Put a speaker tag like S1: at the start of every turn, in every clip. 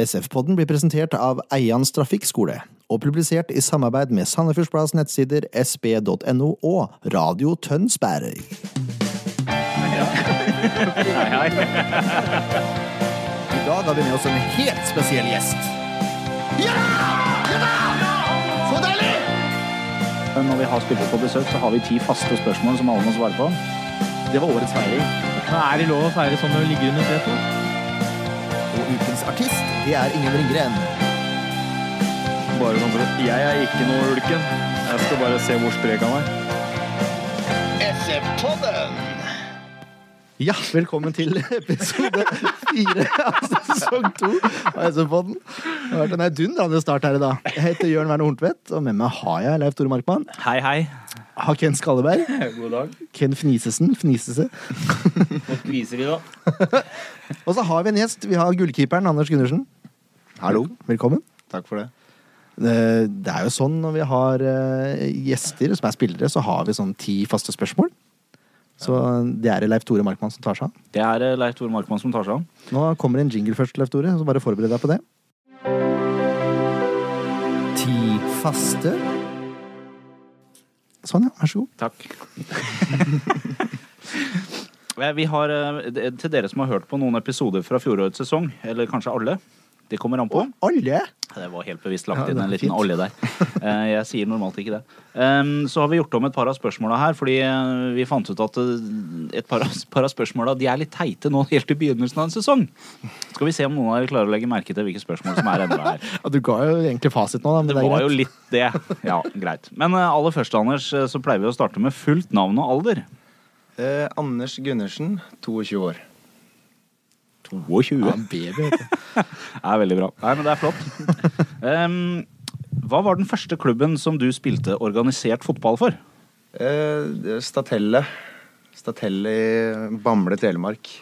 S1: SF-podden blir presentert av Eians Trafikkskole og publisert i samarbeid med Sandefjordsplass nettsider sb.no og Radio Tønsberg. I dag har vi med oss en helt spesiell gjest.
S2: Men når vi har spillere på besøk, så har vi ti faste spørsmål som alle må svare på. Det var årets feiring.
S3: Men er det lov å feire sånn når du ligger under setet?
S1: Og ukens artist, det er Ingen Ringgren.
S4: Bare sånn for at jeg er ikke noe ulken. Jeg skal bare se hvor sprek han er.
S1: Ja, velkommen til episode fire av sesong to av SF-podden. Det har vært en heidundrende start her i dag. Jeg heter Jørn Werner Horntvedt, og med meg har jeg Leif Tore Markmann.
S3: Hei, hei.
S1: Har Ken Skalleberg.
S5: God dag.
S1: Ken Fnisesen. Fnisese.
S5: Viser vi da.
S1: Og så har vi en gjest. Vi har gullkeeperen Anders Gundersen. Hallo. Velkommen.
S4: Takk for det.
S1: Eh, Det er jo sånn når vi har eh, gjester som er spillere, så har vi sånn ti faste spørsmål. Så det er det Leif Tore Markmann som tar seg av.
S2: Det er eh, Leif Tore Markmann som tar seg av.
S1: Nå kommer en jingle først, Leif Tore, så bare forbered deg på det. Ti faste. Sånn, ja. Vær så god.
S2: Takk. Eh, Vi har, eh, d- til dere som har hørt på noen episoder fra fjorårets sesong, eller kanskje alle, det kommer an på.
S1: Olje!
S2: Det var helt bevisst lagt
S1: Ja,
S2: inn
S1: det
S2: en
S1: var
S2: liten
S1: fint.
S2: olje der. Eh, Jeg sier normalt ikke det. Ehm, Så har vi gjort om et par av spørsmåla her, fordi eh, vi fant ut at eh, et par av, par av spørsmåla de er litt teite nå helt i begynnelsen av en sesong. Skal vi se om noen av dere klarer å legge merke til hvilke spørsmål som er endra her.
S1: Ja, du ga jo egentlig fasit nå, da, men
S2: Det
S1: det,
S2: var
S1: er
S2: jo
S1: greit.
S2: litt det. Ja, greit. Men eh, aller først, Anders, eh, så pleier vi å starte med fullt navn og alder.
S4: Eh, Anders Gundersen, 22 år.
S2: 22.
S1: Ja, baby, vet du.
S2: Det er veldig bra. Nei, men det er flott. Ehm, hva var den første klubben som du spilte organisert fotball for?
S4: Eh, det er Statelle. Statelle i Bamble, Telemark.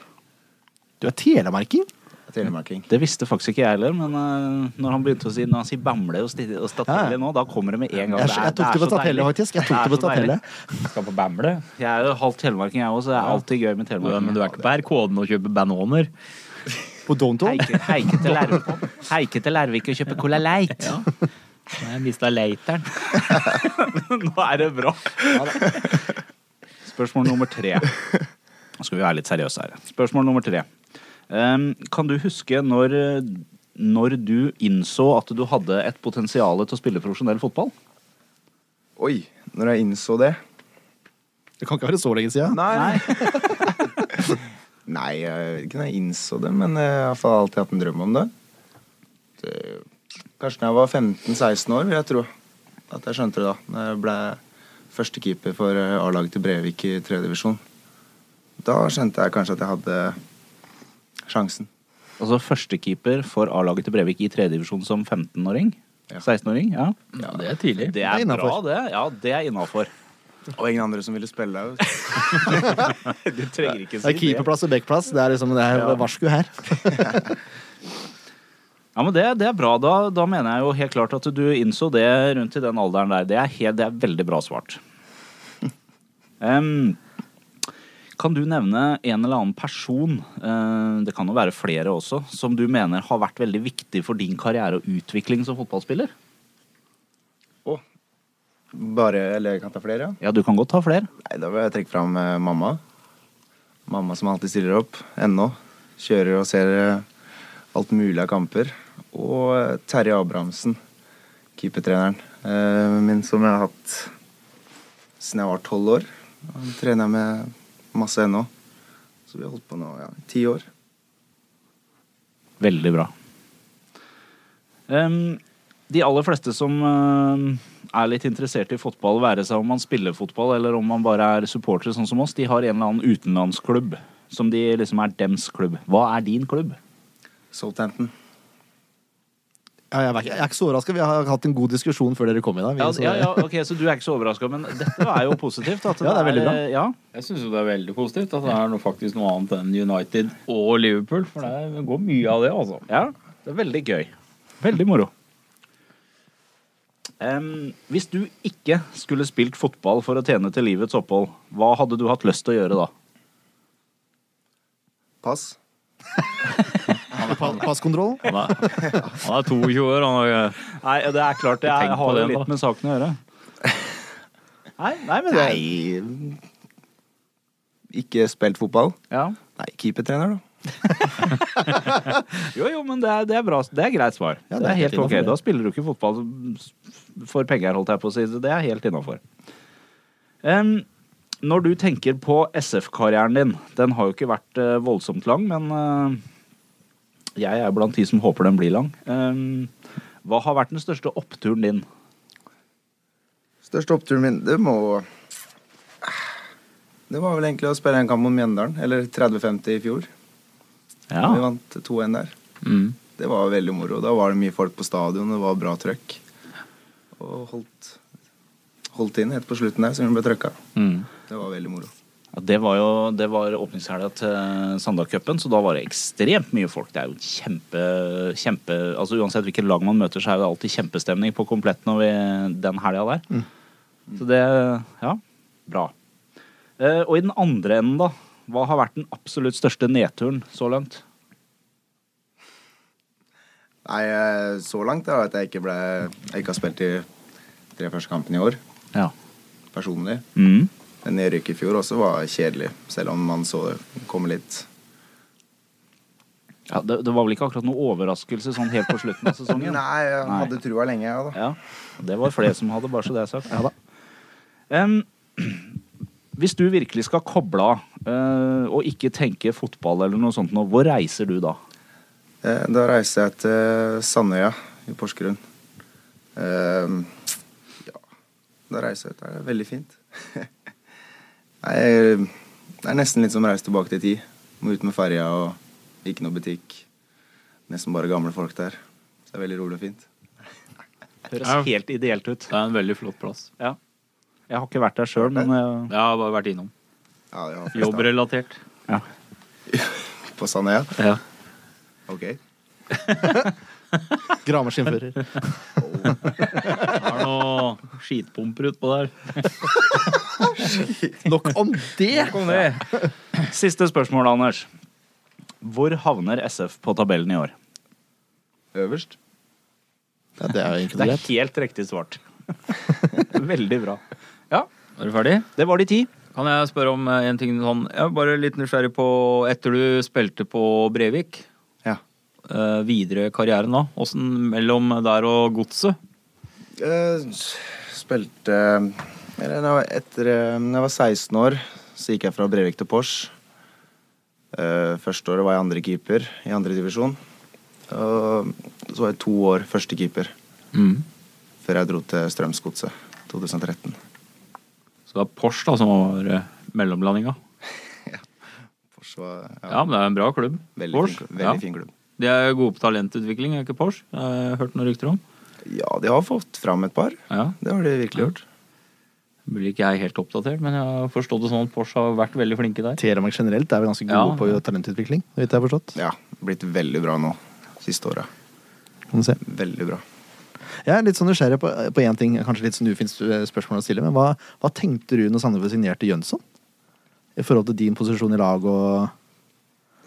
S1: Du er telemarking?
S4: Telemarking.
S2: Det visste faktisk ikke jeg heller, men eh, når han begynte å si, når han sier Bamble og, Sti- og Statelle
S1: Ja.
S2: nå, da kommer det med en gang.
S1: Jeg-
S2: er-
S1: jeg tok det
S2: er
S1: på
S2: så deilig.
S1: Statelle, faktisk. Jeg tok
S2: er
S1: det på
S2: så deilig.
S1: Statelle.
S5: Skal på Bamble.
S2: Jeg er jo halvt telemarking, jeg òg, så det er alltid gøy med telemarking.
S5: Men du er ikke på RK-en og kjøper bananer.
S1: På Downton?
S2: Heike, heike, til Lærvik, heike til Lærvik og kjøpe Cola Light.
S5: Nei, Jeg mista leiteren.
S2: Nå er det bra. Spørsmål nummer tre. Nå skal vi være litt seriøse her. Spørsmål nummer tre. Ehm, kan du huske når, eh, når du innså at du hadde et potensial til å spille profesjonell fotball?
S4: Oi, når jeg innså det
S1: Det kan ikke være så lenge siden.
S4: Nei. Nei, jeg vet ikke når jeg innså det, men eh, jeg har i hvert fall alltid hatt en drøm om det. det kanskje da jeg var 15-16 år, vil jeg tro. At jeg skjønte det da. Når jeg ble første keeper for eh, A-laget til Brevik i tredje divisjon. Da skjønte jeg kanskje at jeg hadde sjansen.
S2: Altså førstekeeper for A-laget til Brevik i tredjedivisjon som 15-åring?
S4: Ja.
S2: 16-åring? Ja.
S5: Ja, det er tidlig.
S2: Det
S1: er
S2: er bra,
S1: innenfor.
S2: det. Ja, det er innafor.
S4: Og ingen andre som ville spille. vet du.
S2: Du trenger ikke
S1: Det er keeperplass og backplass. Det er liksom, det er varsku her.
S2: Ja, men det, det er bra. Da, da mener jeg jo helt klart at du innså det rundt i den alderen der. Det er, helt, det er veldig bra svart. Em, kan du nevne en eller annen person, eh, det kan jo være flere også, som du mener har vært veldig viktig for din karriere og utvikling som fotballspiller?
S4: Bare, eller jeg kan ta flere, ja.
S2: Ja, du kan godt ta flere.
S4: Nei, da vil jeg trekke fram eh, mamma. Mamma som alltid stiller opp, ennå. Kjører og ser eh, alt mulig av kamper. Og eh, Terje Abrahamsen, keepertreneren eh, min som jeg har hatt siden jeg var tolv år. Han trener jeg med masse ennå. Så vi har holdt på nå ja, i ti år.
S2: Veldig bra. Em, de aller fleste som em, er litt interessert i fotball, være seg om man spiller fotball eller om man bare er supportere sånn som oss, de har en eller annen utenlandsklubb som de liksom er dems klubb. Hva er din klubb?
S4: Southampton.
S1: Ja, jeg, er ikke- jeg er ikke så overraska. Vi har hatt en god diskusjon før dere kom i dag. Vi,
S2: Ja,
S1: så-
S2: ja, ja, ok, Så du er ikke så overraska, men dette er jo positivt. At
S1: Ja, det er veldig bra.
S2: Ja,
S5: Jeg syns jo det er veldig positivt at det er noe, faktisk noe annet enn United og Liverpool. For det går mye av det, altså.
S2: ja, det er veldig gøy. Veldig moro. Em, hvis du ikke skulle spilt fotball for å tjene til livets opphold, hva hadde du hatt lyst til å gjøre da?
S4: Pass.
S5: Han
S1: pa- passkontroll.
S5: Han er, han er 22 år, han er
S2: Nei, det er klart det
S5: Tenk
S2: er,
S5: på
S2: har jo
S5: det, da.
S2: litt med saken å gjøre. Nei, nei men det
S4: Nei Ikke spilt fotball?
S2: ja.
S4: Nei, keepertrener, da.
S2: Jo, jo, men det er, det er bra. Det er greit svar.
S1: Ja,
S2: det, er helt
S1: innenfor
S2: ok.
S1: det.
S2: Da spiller du ikke fotball for penger, holdt jeg på å si. Det er helt innafor. når du tenker på SF-karrieren din, den har jo ikke vært eh, voldsomt lang, men eh, jeg er blant de som håper den blir lang. Em, hva har vært den største oppturen din?
S4: Største oppturen min, det må Det var vel egentlig å spille en kamp mot Mjøndalen, eller 30-50 i fjor. Vi vant 2-1 der. Det var veldig moro. Da var det mye folk på stadion, det var bra trøkk. Og holdt, holdt inn helt på slutten der, så hun ble trøkka. Det var veldig moro.
S2: Ja, det var jo det var åpningshelga til Sandalcupen, så da var det ekstremt mye folk. Det er jo kjempe, kjempe altså Uansett hvilket lag man møter, så er det alltid kjempestemning på komplett når vi, den helga der. Så det Ja, bra. Eh, og i den andre enden, da. Hva har vært den absolutt største nedturen så langt?
S4: Nei, eh, så langt da at jeg ikke ble Jeg ikke har spilt de tre første kampene i år,
S2: Ja.
S4: personlig.
S2: Mm.
S4: Men nedrykket i fjor også var kjedelig, selv om man så det komme litt.
S2: ja det, det var vel ikke akkurat noe overraskelse sånn helt på slutten av sesongen?
S4: Nei, jeg
S2: Nei.
S4: hadde trua lenge, jeg, da.
S2: Ja, det var flere som hadde, bare så det er sagt.
S1: Ja da.
S2: Em, hvis du virkelig skal koble av eh, og ikke tenke fotball eller noe sånt nå, hvor reiser du da?
S4: Eh, Da reiser jeg til Sandøya i Porsgrunn. Ehm, ja Da reiser jeg ut der. Det er veldig fint. Nei, det er nesten litt som å reise tilbake til tid. Må ut med ferja og ikke noe butikk. Nesten bare gamle folk der. Så det er veldig rolig og fint.
S2: Høres
S5: Ja.
S2: helt ideelt ut.
S5: Det er en veldig flott plass.
S2: Ja. Jeg har ikke vært der sjøl, men eh,
S5: Jeg har bare vært innom.
S4: Ja, jeg har fest, da.
S5: Jobbrelatert.
S4: På Sandøya?
S5: Ja.
S4: Ok.
S1: Gravemaskinfører.
S5: Har noe skitpumper utpå der.
S1: Nok om det!
S2: siste spørsmål, Anders. Hvor havner SF på tabellen i år?
S4: Øverst?
S1: Ja, det er jo
S2: Det
S1: egentlig
S2: er
S1: greit.
S2: helt riktig svart. Veldig bra.
S5: Er du ferdig?
S2: Det var de ti.
S5: Kan jeg spørre om eh, en ting sånn Jeg er bare litt nysgjerrig på Etter du spilte på Brevik,
S4: Ja.
S5: eh, videre karrieren da, åssen mellom der og godset?
S4: Eh, s- spilte eller, når, jeg var etter, eh, når jeg var 16 år, så gikk jeg fra Brevik til Pors. Eh, første året var jeg andre keeper i andre divisjon. Og så var jeg to år første keeper Mm. før jeg dro til Strømsgodset 2013.
S5: Så det var Porsche da, som var eh, mellomlandinga.
S4: Pors var ja,
S5: Ja, men det er en bra klubb.
S4: veldig,
S5: Porsche,
S4: fin, klubb- veldig
S5: ja.
S4: fin klubb.
S5: De er gode på talentutvikling, er ikke Porsche? Jeg har hørt noen rykter om.
S4: Ja, de har fått fram et par.
S5: Ja,
S4: Det har de virkelig gjort.
S5: Blir ikke jeg helt oppdatert, men jeg har forstått det sånn at Porsche har vært veldig flinke der.
S1: Telemark generelt er vi ganske gode
S5: Ja.
S1: på talentutvikling. Det vet jeg har forstått.
S4: Ja, blitt veldig bra nå siste året.
S1: Kan du se.
S4: Veldig bra.
S1: Jeg er litt sånn nysgjerrig på på én ting. Kanskje litt sånn ufint spørsmål å stille, men hva, hva tenkte du når Sandefjord signerte Jønsson? I forhold til din posisjon i lag og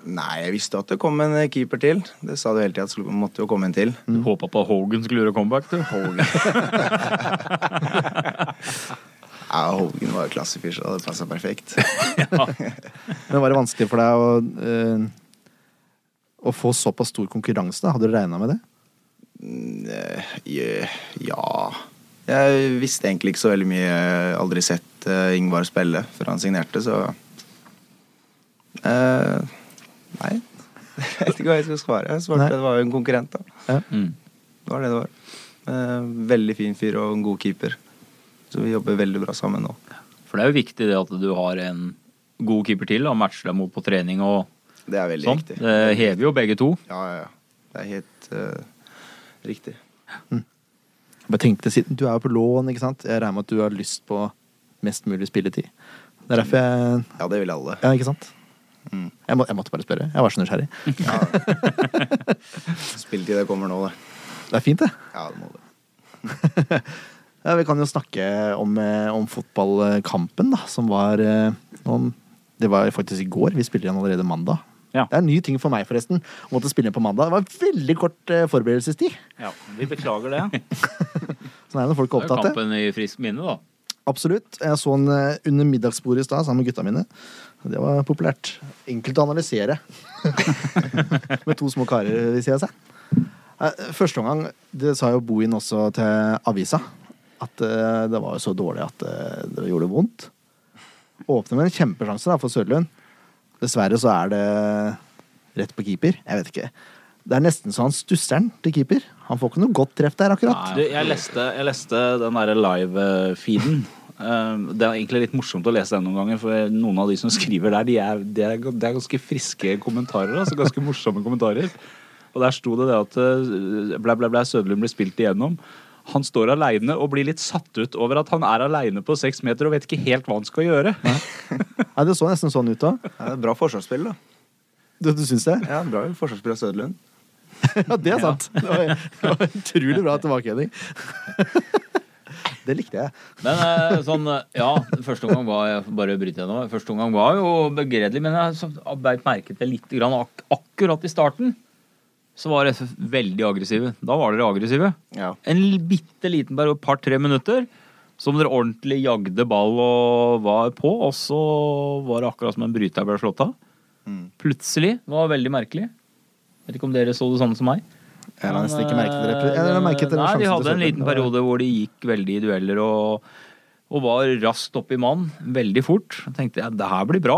S4: Nei, jeg visste at det kom en eh, keeper til. Det sa du hele tida, at det skulle- måtte jo komme en til.
S5: Du håpa på at Hogan skulle gjøre comeback, du.
S4: Ja, Holgen var jo klassefyr, så det passa perfekt.
S1: Men var det vanskelig for deg å eh, Å få såpass stor konkurranse, da? Hadde du regna med det?
S4: Eh, Ja Jeg visste egentlig ikke så veldig mye. Aldri sett eh, Ingvar spille før han signerte, så eh, Nei. Jeg vet ikke hva jeg skal svare. Jeg svarte
S1: Nei.
S4: at det var jo en konkurrent, da.
S5: Mm.
S4: Det var det det var. Eh, veldig fin fyr og en god keeper. Så vi jobber veldig bra sammen nå.
S5: For det er jo viktig det at du har en god keeper til og matcher deg mot på trening og
S4: Det er veldig
S5: sånn.
S4: riktig.
S5: Det hever jo begge to.
S4: Ja, ja, ja. Det er helt eh, riktig.
S1: Jeg bare tenkte, siden Du er jo på lån, ikke sant? Jeg regner med at du har lyst på mest mulig spilletid. Det er derfor jeg
S4: Ja, det vil alle.
S1: Ja, ikke sant?
S4: Mm.
S1: Jeg, må, jeg måtte bare spørre. Jeg var så nysgjerrig.
S4: Spilletid det kommer nå, det.
S1: Det er fint, det.
S4: Ja, det må det.
S1: Ja, vi kan jo snakke om, eh, om fotballkampen, da, som var eh, om, Det var faktisk i går. Vi spiller igjen allerede mandag.
S2: Ja.
S1: Det er en ny ting for meg, forresten. Å måtte spille inn på mandag. Det var veldig kort eh, forberedelsestid.
S2: Ja, vi beklager det.
S1: Sånn er det når folk er
S5: Det er jo
S1: opptatt.
S5: kampen i friskt minne, da.
S1: Absolutt. Jeg så den eh, under middagsbordet i stad sammen med gutta mine. Det var populært. Enkelt å analysere. med to små karer ved siden av seg. Eh, Første omgang, det sa jo Bohin også til avisa, at eh, det var jo så dårlig at eh, det gjorde vondt. Åpner med en kjempesjanse da, for Sørlund. Dessverre så er det rett på keeper. Jeg vet ikke. Det er nesten så han stusser den til keeper. Han får ikke noe godt treff der, akkurat.
S2: Du, jeg leste, jeg leste den derre live-feeden. Eh, Det er egentlig litt morsomt å lese den noen ganger, for noen av de som skriver der, de er, de er, det er ganske friske kommentarer. altså Ganske morsomme kommentarer. Og der sto det det at eh, blæ, blæ, blæ, Søderlund blir spilt igjennom. Han står aleine og blir litt satt ut over at han er aleine på seks meter og vet ikke helt hva han skal gjøre.
S1: Nei, det så nesten sånn ut da.
S4: Ja, det er bra forsvarsspill, da.
S1: Du, du syns det?
S4: Ja, bra forsvarsspill av Søderlund.
S1: Ja, det er sant. Det var, det var utrolig bra tilbakehending. Det likte jeg.
S5: Men eh, sånn, eh, ja, første omgang var jeg får bare bryte gjennom. Første omgang var jo begredelig, men jeg så- beit merke til litt grann ak akkurat i starten. Så var FF veldig aggressive. Da var dere aggressive.
S4: Ja.
S5: En l- bitte liten periode, et par-tre minutter, som dere ordentlig jagde ball og var på. Og så var det akkurat som en bryter ble slått av.
S1: Mm.
S5: Plutselig. Det var veldig merkelig. Vet ikke om dere så det samme som meg.
S1: Jeg la nesten ikke
S5: Men,
S1: merke til det.
S5: eh,
S1: Jeg la merke til den
S5: Nei,
S1: sjansen
S5: de
S1: til
S5: hadde en
S1: Søderlund.
S5: liten periode hvor de gikk veldig i dueller og, og var raskt opp i mann, veldig fort. Jeg tenkte jeg, det her blir bra.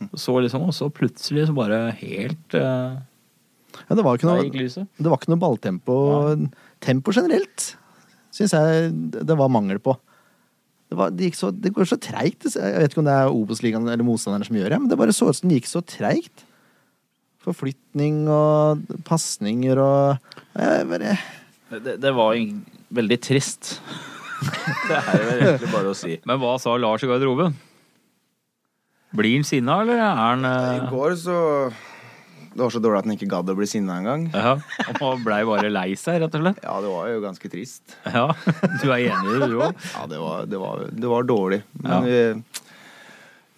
S1: Hm.
S5: Så liksom, og så plutselig så bare helt eh,
S1: Ja, det var ikke
S5: Der gikk
S1: noe,
S5: lyset.
S1: det var ikke noe balltempo. Tempo generelt syns jeg det var mangel på. Det, var, det, gikk så, det går så treigt. Jeg vet ikke om det er Obos-ligaen eller motstanderen som gjør det, men det bare så ut som det gikk så treigt. Forflytning og pasninger og jeg bare,
S2: Det, det var jo veldig trist. Det er jo egentlig bare å si.
S5: Men hva sa Lars i garderoben? Blir han sinna, eller er han
S4: I
S5: eh,
S4: går så Det var så dårlig at han ikke gadd å bli sinna engang.
S5: eh, ja, Han blei bare lei seg, rett og slett.
S4: Ja, det var jo ganske trist.
S5: Ja, Du er enig i det, du òg?
S4: Ja, det var, det var, det var dårlig.
S5: Ja.
S4: Men vi,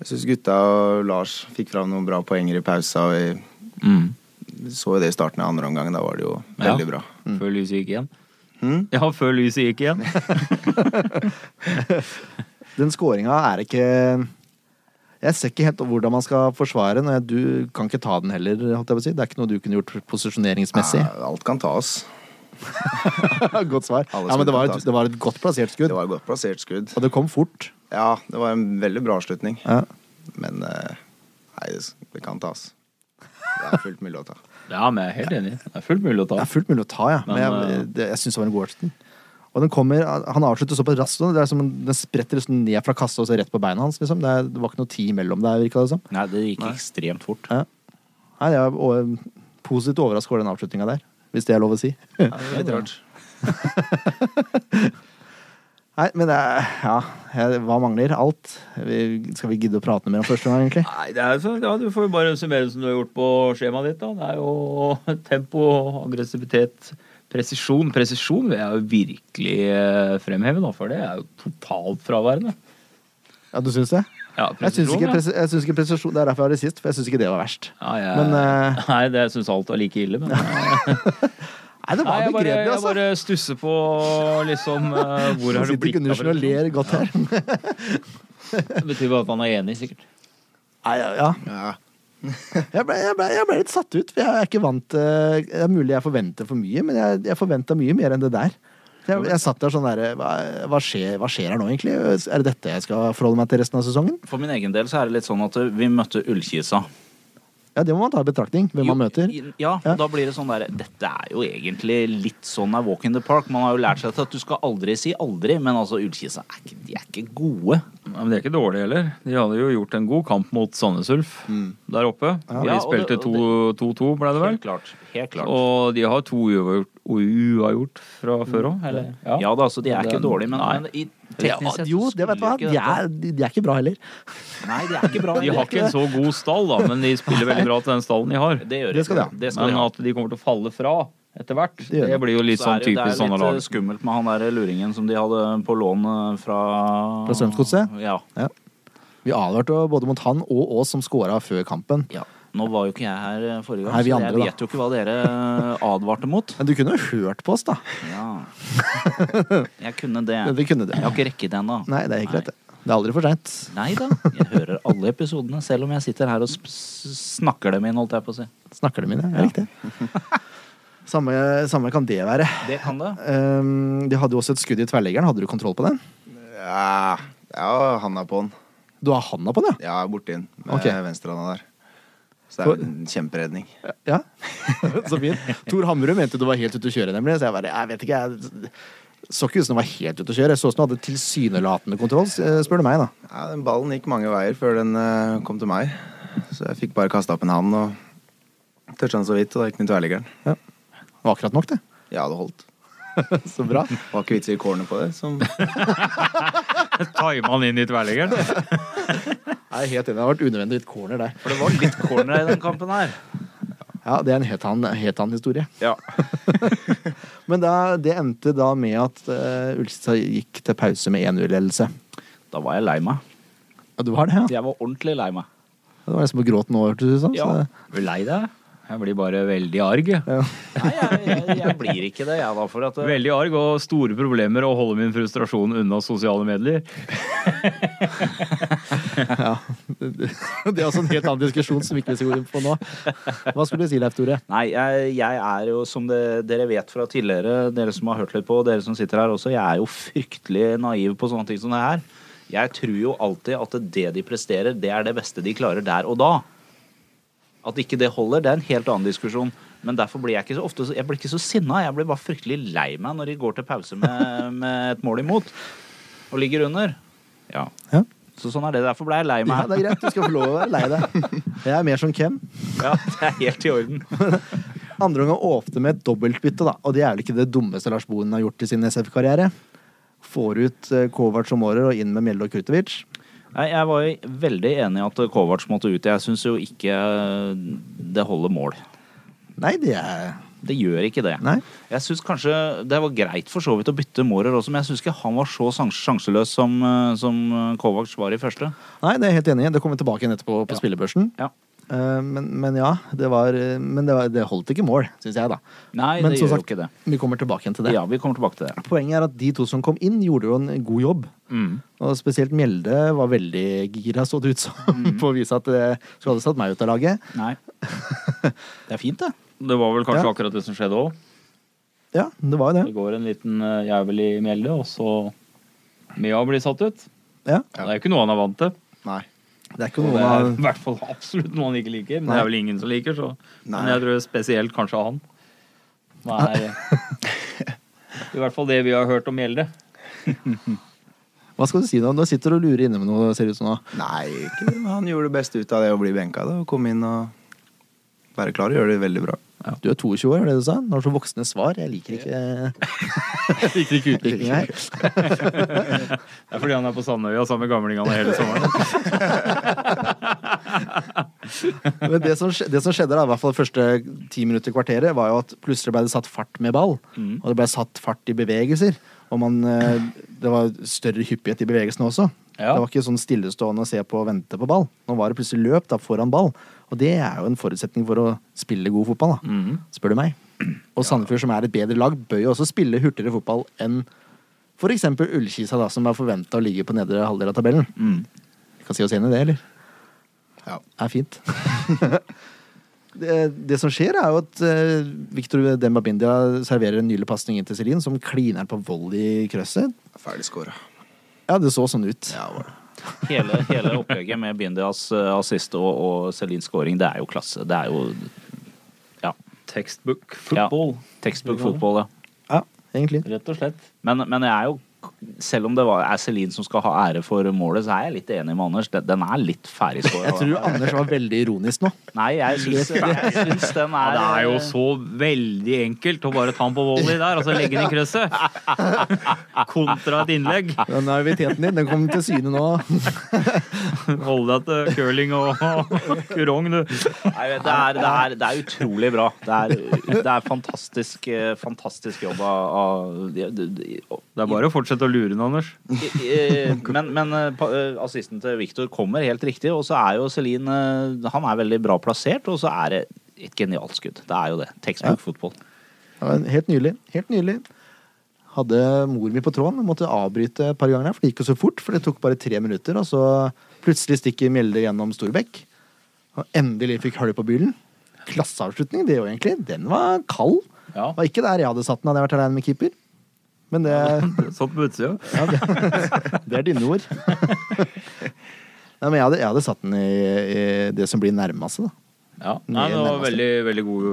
S4: jeg syns gutta og Lars fikk fram noen bra poenger i pausa. Og
S5: Mm.
S4: vi så jo det i starten av andre omgang. Da var det jo
S5: Ja.
S4: veldig bra.
S5: Før lyset gikk igjen.
S4: Mm.
S5: Ja, før lyset gikk igjen.
S1: Den scoringa er ikke Jeg ser ikke helt hvordan man skal forsvare den. og jeg- Du kan ikke ta den heller. Holdt jeg på å si. Det er ikke noe du kunne gjort posisjoneringsmessig.
S4: Ja, alt kan tas.
S1: godt svar.
S4: Ah. Alle
S1: Ja, men det var, et,
S4: skudd
S1: det var et godt plassert skudd,
S4: Det var et godt plassert skudd.
S1: og det kom fort.
S4: Ja, det var en veldig bra avslutning.
S1: Ja.
S4: Men eh, nei, det, det kan tas. Det er fullt mulig å ta.
S5: Ja, men jeg er helt enig. Det er fullt mulig å ta.
S1: Det er fullt mulig å ta, ja. Men
S5: Men,
S4: eh,
S1: jeg, det, jeg syns det var en god Orton. Og den kommer, Han avslutter såpass raskt. og Det er som en- den spretter liksom ned fra kassa og så rett på beina hans. liksom. Det, er, det var ikke noe tid imellom der, virka det som.
S2: Nei, det gikk ekstremt fort.
S1: Nei, jeg er o- positivt overraska over den avslutninga der, hvis det er lov å si.
S4: Litt rart.
S1: Nei, men det er, ja, jeg- hva mangler? Alt? Vi, skal vi gidde å prate mer om første gang, egentlig?
S5: Nei, det er, så- ja, Du får jo bare summere som du har gjort på skjemaet ditt. da. Det er jo tempo, aggressivitet, presisjon. Presisjon vil jeg jo virkelig eh, fremheve, da, for det er jo totalt fraværende.
S1: Ja, du syns det?
S5: Ja,
S1: Jeg syns ikke,
S5: ja.
S1: pres- jeg syns ikke prestasjon Det er derfor jeg har det sist, for jeg syns ikke det var verst.
S5: ja, jeg,
S1: Men eh,
S5: Nei, det jeg syns alt var like ille, men
S1: Nei, det
S5: Nei,
S1: var
S5: jeg, bare,
S1: begredelig,
S5: jeg
S1: altså.
S5: bare stusser på liksom eh,
S1: Nå
S5: Hvor har det
S1: sitter
S5: blitt av?
S1: Gundersen og
S5: Det
S1: ler godt her.
S5: betyr bare at han er enig, sikkert.
S1: Nei, ja, ja.
S4: Ja.
S1: Jeg, ble, jeg, ble, jeg ble litt satt ut, for jeg er ikke vant til Det er mulig jeg forventer for mye, men jeg, jeg forventa mye mer enn det der. Jeg, jeg satt der sånn derre hva, hva, skjer- hva skjer her nå, egentlig? Er det dette jeg skal forholde meg til resten av sesongen?
S2: For min egen del så er det litt sånn at vi møtte Ullkisa.
S1: Ja, det må man ta i betraktning. Hvem man
S2: Jo,
S1: møter.
S2: i- Ja, og
S1: Ja.
S2: da blir det sånn der Dette er jo egentlig litt sånn a walk in the park. Man har jo lært seg til at du skal aldri si aldri, men altså Ullkisa er ikke, de er ikke gode.
S5: Nei, men De er ikke dårlige heller. De hadde jo gjort en god kamp mot Sandnes Ulf der oppe. Hvor
S2: Ja,
S5: de
S2: og
S5: spilte
S2: det- og
S5: 2-2, ble det vel?
S2: Helt klart. Helt klart.
S5: Og de har to uavgjort, uavgjort fra før òg, eller?
S2: ja da, så de er ikke
S5: Den-
S2: dårlige, men,
S5: Nei.
S2: men i
S1: Ja,
S2: teknisk sett
S1: jo,
S2: så
S1: det vet du hva.
S2: skulle jo
S1: De
S2: ikke
S1: er, de de er ikke bra heller.
S2: dette- Nei, de er ikke bra.
S5: De har ikke en så god stall, da, men de spiller veldig bra til den stallen de har.
S2: Det gjør
S1: Det skal de ha.
S2: Det skal de
S5: Men
S2: ha.
S5: at de kommer til å falle fra etter hvert,
S1: gjør de.
S5: det blir jo litt
S2: Så
S5: sånn
S2: er det-
S5: typisk sånne
S2: Det er
S5: lag.
S2: litt eh, skummelt med han der luringen som de hadde på lån eh, fra
S1: Fra Strømsgodset?
S2: Ja.
S1: Vi advarte jo både mot han og oss som scora før kampen.
S2: ja. Nå var jo ikke jeg her eh, forrige gang,
S1: Nei, vi
S2: så
S1: andre, da.
S2: jeg vet jo ikke hva dere eh, advarte mot.
S1: Men du kunne jo hørt på oss, da.
S2: Ja. Jeg kunne det.
S1: Ja, du kunne det.
S2: Jeg har ikke rekket det ennå.
S1: Nei, det er ikke greit, det. Det er aldri for seint.
S2: Nei da. Jeg hører alle episodene, selv om jeg sitter her og sp- s- snakker dem inn, holdt jeg på å si.
S1: Snakker det mine, ja. Riktig. Samme, samme kan det være.
S2: Det kan det.
S1: Ehm, de hadde jo også et skudd i tverrleggeren. Hadde du kontroll på den?
S4: Ja, ja handa på den.
S1: Du har handa på den,
S4: Ja, borti den med
S1: Ok.
S4: venstrehanda der. Så det er jo en kjemperedning.
S1: ja? ja. så fint. Tor Hammerud mente du var helt ute å kjøre, nemlig. Så jeg bare, jeg vet ikke, jeg så ikke ut som du var helt ute å kjøre. Jeg så ut som du hadde tilsynelatende kontroll, s- eh, spør du meg, da.
S4: Ja, den ballen gikk mange veier før den eh, kom til meg. Så jeg fikk bare kasta opp en hand og toucha den så vidt, og da gikk den i tverrliggeren.
S1: Det var akkurat nok, det.
S4: Ja, det holdt.
S1: Så bra.
S4: Var ikke vits i corner på det. Som
S5: Tima han inn i tverrliggeren.
S1: Jeg er helt enig. Det har vært unødvendig litt corner der.
S2: For det var litt corner i den kampen her.
S1: Ja, det er en helt annen, helt annen historie.
S2: Ja.
S1: Men da, det endte da med at uh, Ulstad gikk til pause med 1-0-ledelse.
S2: Da var jeg lei meg.
S1: Ja, du var det, ja?
S2: Jeg var ordentlig lei meg.
S1: Det var nesten på gråten nå, hørtes det ut som.
S2: Ja.
S1: så-
S5: Blir du lei deg? Jeg blir bare veldig arg. jeg.
S2: Nei, jeg, jeg, jeg blir ikke det, jeg da. For at
S5: Veldig arg og store problemer å holde min frustrasjon unna sosiale medier.
S1: Ja. Det det er også en helt annen diskusjon som ikke vi skal gå inn på nå. Hva skulle du si, Leif Tore?
S2: Nei, jeg, jeg er jo, som det, dere vet fra tidligere, dere som har hørt litt på, og dere som sitter her også, jeg er jo fryktelig naiv på sånne ting som det her. Jeg tror jo alltid at det de presterer, det er det beste de klarer der og da. At ikke det holder, det er en helt annen diskusjon. Men derfor blir jeg ikke så ofte så- Jeg blir ikke så sinna. Jeg blir bare fryktelig lei meg når de går til pause med, med et mål imot og ligger under. Ja.
S1: Ja.
S2: Så sånn er det. Derfor ble jeg lei
S1: Ja,
S2: meg.
S1: det er greit, du skal få lov å være lei deg. Jeg er mer som Kem.
S2: Ja, det er helt i orden.
S1: Andre ganger åpne med et dobbeltbytte, da. Og det er vel ikke det dummeste Lars Bohin har gjort i sin SF-karriere. Får ut eh, Kovac og Mårer og inn med Mjelde og Kurtovic.
S2: Nei, Jeg var jo veldig enig i at Kovac måtte ut. Jeg syns jo ikke det holder mål.
S1: Nei, det er
S2: Det gjør ikke det.
S1: Nei.
S2: Jeg synes kanskje Det var greit for så vidt å bytte Mårer også, men jeg syns ikke han var så sjans- sjanseløs som, eh, som Kovac var i første.
S1: Nei, det er jeg helt enig i. Det kommer vi tilbake igjen etterpå på spillebørsen.
S2: Ja.
S1: Eh, Men, men ja, det var eh, Men det, var, det holdt ikke mål, syns jeg, da.
S2: Nei,
S1: Men
S2: det
S1: som
S2: gjør jo
S1: sagt,
S2: ikke det.
S1: Vi kommer tilbake igjen til det.
S2: Ja, vi kommer tilbake til det.
S1: Poenget er at de to som kom inn, gjorde jo en god jobb.
S2: Mm.
S1: Og spesielt Mjelde var veldig gira, så det ut som,
S2: Mm.
S1: på å vise at det skulle aldri satt meg ut av laget.
S2: Nei. Det er fint, det.
S5: Det var vel kanskje
S1: Ja.
S5: akkurat det som skjedde òg.
S1: Ja, det var jo
S5: Det
S1: det.
S5: går en liten eh, jævel i mjelde, og så Mia blir satt ut.
S1: Ja.
S5: Det er jo ikke noe han er vant til.
S4: Nei.
S1: Det er ikke
S5: Og
S1: noe
S5: det er
S1: man
S5: i hvert fall absolutt noe han ikke liker. Men
S1: Nei.
S5: det er vel ingen som liker, så. Men
S4: Nei.
S5: jeg tror spesielt kanskje han. Hva er I hvert fall det vi har hørt om Mjelde.
S1: Hva skal du si nå? Nå sitter du og lurer inne med noe, ser det ut som nå.
S4: Nei, ikke det. men Han gjorde det beste ut av det å bli benka da, og komme inn og være klar og gjøre det veldig bra.
S1: Du er 22 år, er det du sa? Nå har du så voksne svar. Jeg liker ikke
S5: Liker ikke
S1: utviklinga her.
S5: Det er fordi han er på Sandøya sammen med gamlingene hele sommeren.
S1: Men det som, skje- det som skjedde, da, i hvert fall første ti minutter i kvarteret, var jo at plutselig ble det satt fart med ball. Og det ble satt fart i bevegelser. Og man, eh, det var større hyppighet i bevegelsene også. Det
S5: Ja.
S1: var ikke sånn stillestående å se på og vente på ball. Nå var det plutselig løp da, foran ball. Og det er jo en forutsetning for å spille god fotball, da. spør du meg. Og Sandefjord, som er et bedre lag, bør jo også spille hurtigere fotball enn f.eks. Ullkisa, da, som er forventa å ligge på nedre halvdel av tabellen. Kan si oss enig i det, eller?
S4: Ja.
S1: er fint. det, det som skjer, er jo at eh, Victor Dembabindia serverer en nylig pasning inn til Celine, som kliner på volley i krøsset.
S4: Ferdig skåra.
S1: Ja, det så sånn ut.
S4: Ja, var det.
S2: Hele, hele opplegget med Bindias eh, assist og, og Celines scoring, det er jo klasse. Det er jo Ja.
S5: Textbook football,
S2: Textbook football, ja.
S1: Ja, egentlig.
S5: rett og slett.
S2: Men, men jeg er jo, selv om det var, er Celine som skal ha ære for målet, så er jeg litt enig med Anders. Den, den er litt ferdigskåra.
S1: Jeg tror Anders var veldig ironisk nå.
S2: Nei, jeg syns, jeg syns den er
S5: Ja,
S2: eh,
S5: det er jo så veldig enkelt å bare ta han på volley der, og så legge den i krysset. Kontra et innlegg.
S1: Den naiviteten din den kom til syne nå.
S5: Holde deg til curling og og kurong, du.
S2: Nei, det, er, det, er, det er utrolig bra. Det er, det er fantastisk, eh, fantastisk jobb av, av
S5: Det er bare å fortsette å lure den, Anders.
S2: I- i- Men, men eh, pa- eh, assisten til Victor kommer helt riktig, og så er jo Celine eh, Han er veldig bra plassert, og så er det et genialt skudd. Det er jo det. Textbook football.
S1: Ja, men helt nylig. Helt nylig. Hadde mor mi på tråden. Måtte avbryte et par ganger, for det gikk jo så fort. For det tok bare tre minutter, og så plutselig stikker Mjelde gjennom Storbekk. Og endelig fikk hull på bilen. Klasseavslutning, det jo egentlig. Den var kald.
S5: Ja.
S1: Var ikke der jeg hadde satt den, hadde jeg vært aleine med keeper. Men det
S5: Satt Sånn på utsida.
S1: ja, det, det er dine ord. Nei, men jeg hadde, jeg hadde satt den i, i det som blir nærmeste, da.
S5: Ja. Nei, det var veldig, veldig god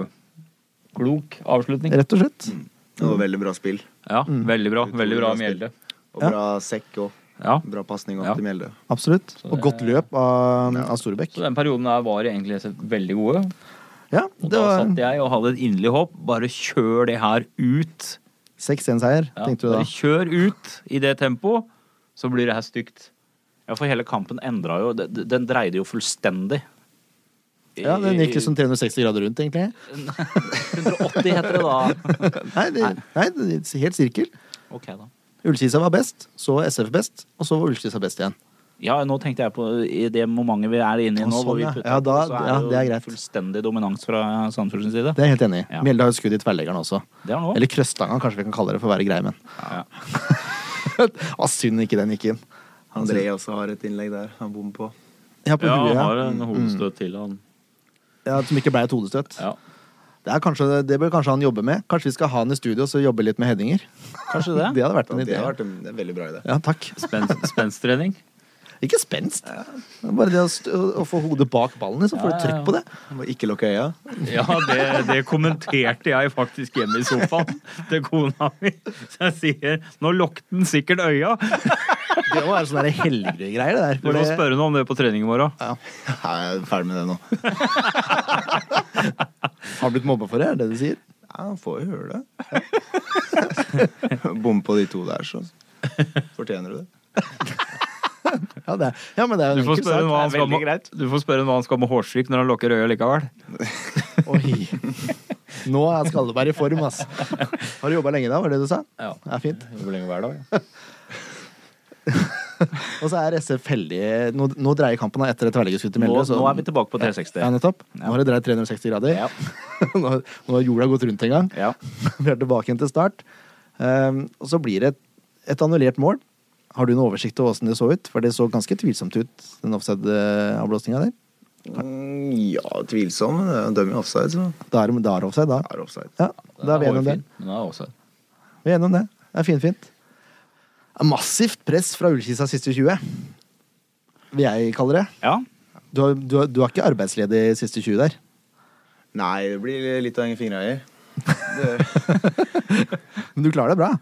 S5: Klok avslutning.
S1: Rett og slett.
S5: Mm.
S4: Det var veldig bra spill.
S5: Ja, veldig bra. Veldig bra Mjelde.
S1: Mm.
S4: Og
S1: Ja.
S4: bra sekk òg.
S5: Ja.
S4: Bra pasning opp
S5: Ja.
S4: til Mjelde.
S1: Absolutt.
S5: Så
S1: Og
S5: det-
S1: godt løp av, av Storbekk.
S5: Så den perioden her var egentlig veldig gode.
S1: Ja,
S5: Og
S1: det
S5: da
S1: var
S5: satt jeg og hadde et inderlig håp. Bare kjør det her ut.
S1: 6-1-seier,
S5: Ja,
S1: tenkte du da.
S5: Bare kjør ut i det tempoet, så blir det her stygt.
S2: Ja, for hele kampen endra jo d- d- Den dreide jo fullstendig. I-
S1: Ja, Den gikk liksom 360 grader rundt, egentlig.
S2: 180 heter det da.
S1: Nei, det, nei det, er helt sirkel.
S2: Ok, da.
S1: Ullkisa var best, så SF best, og så var Ullkisa best igjen.
S2: Ja, nå tenkte jeg på i det momentet vi er inne i
S1: Å,
S2: nå, hvor
S1: sånn,
S2: vi
S1: ja.
S2: putter
S1: Ja, da-
S2: så
S1: ja, det er
S2: jo
S1: greit.
S2: fullstendig dominans fra Sandefjords side.
S1: Det er jeg helt enig i.
S2: Ja.
S1: Mjelde har jo skudd i tverrleggeren også.
S2: Det er nå.
S1: Eller krøstanga, kanskje vi kan kalle det for å være grei, men
S2: Ja.
S1: Å, synd ikke den gikk inn.
S4: André også har et innlegg der han bommer på.
S1: Ja, på
S5: Ja,
S1: huet,
S5: han
S1: ja.
S5: har en hodestøt til, han.
S1: ja. Som ikke ble et hodestøt.
S5: Ja.
S1: Det, er kanskje, det bør kanskje han jobbe med. Kanskje vi skal ha han i studio og så jobbe litt med headinger.
S2: Kanskje
S1: Det
S2: det.
S1: hadde vært
S4: Så
S1: en
S4: Det
S1: idé.
S4: har vært en det er en veldig bra idé.
S1: Ja, takk.
S5: Spenst, spenstrening.
S1: Ikke spenst. Det er Bare det å, st å få hodet bak ballen, så får du trykk på det.
S4: Må Ikke lukke øya.
S5: Ja, det, det kommenterte jeg faktisk hjemme i sofaen til kona mi. Så jeg sier nå lokket den sikkert øya.
S1: Det må være sånne der helgegreier, det der.
S5: Du
S1: hvor
S5: må
S1: det-
S5: spørre noe om det på trening i morgen.
S4: Nei, Jeg er ferdig med det nå.
S1: Har du blitt mobba for det, er det det du sier?
S4: Ja, han får jo høre det. Bomme på de to der, så fortjener du det.
S1: Ja, det er, ja men det er
S5: Du
S1: jo en
S5: får
S1: enkel
S5: spørre hva han
S1: sak.
S5: skal med, du får spørre hva han skal med hårstrykk når han lukker øya likevel.
S1: Oi. Nå er Skalleberg i form, ass. Har du jobba lenge da, var det det du sa?
S5: Ja.
S1: Det er fint.
S5: Hvor lenge hver dag?
S1: Og så er SF heldige. Nå, nå dreier kampen da etter et tverrliggerskuddet til
S2: Nå,
S1: Mjelde. så-
S2: nå er vi tilbake på 360.
S1: Ja, nettopp. Nå har det dreid 360 grader.
S2: Ja.
S1: nå, nå har jorda gått rundt en gang.
S2: Ja.
S1: Vi er tilbake igjen til start. Ehm, og så blir det et, et annullert mål. Har du noen oversikt over åssen det så ut? For det så ganske tvilsomt ut, den offside-avblåsninga der.
S4: Mm, Ja, tvilsom. men det er jo en Døm i offside, så
S1: Da er det da er det offside, da.
S4: det er offside.
S1: Ja, da er vi enige om det. Vi er enige om det. Det er finfint. Massivt press fra Ullkisa siste 20, vil jeg kalle det.
S2: ja.
S1: Du, har, du, har, du er ikke arbeidsledig siste 20 der.
S4: Nei, det blir litt å henge fingra i.
S1: Men du klarer deg bra.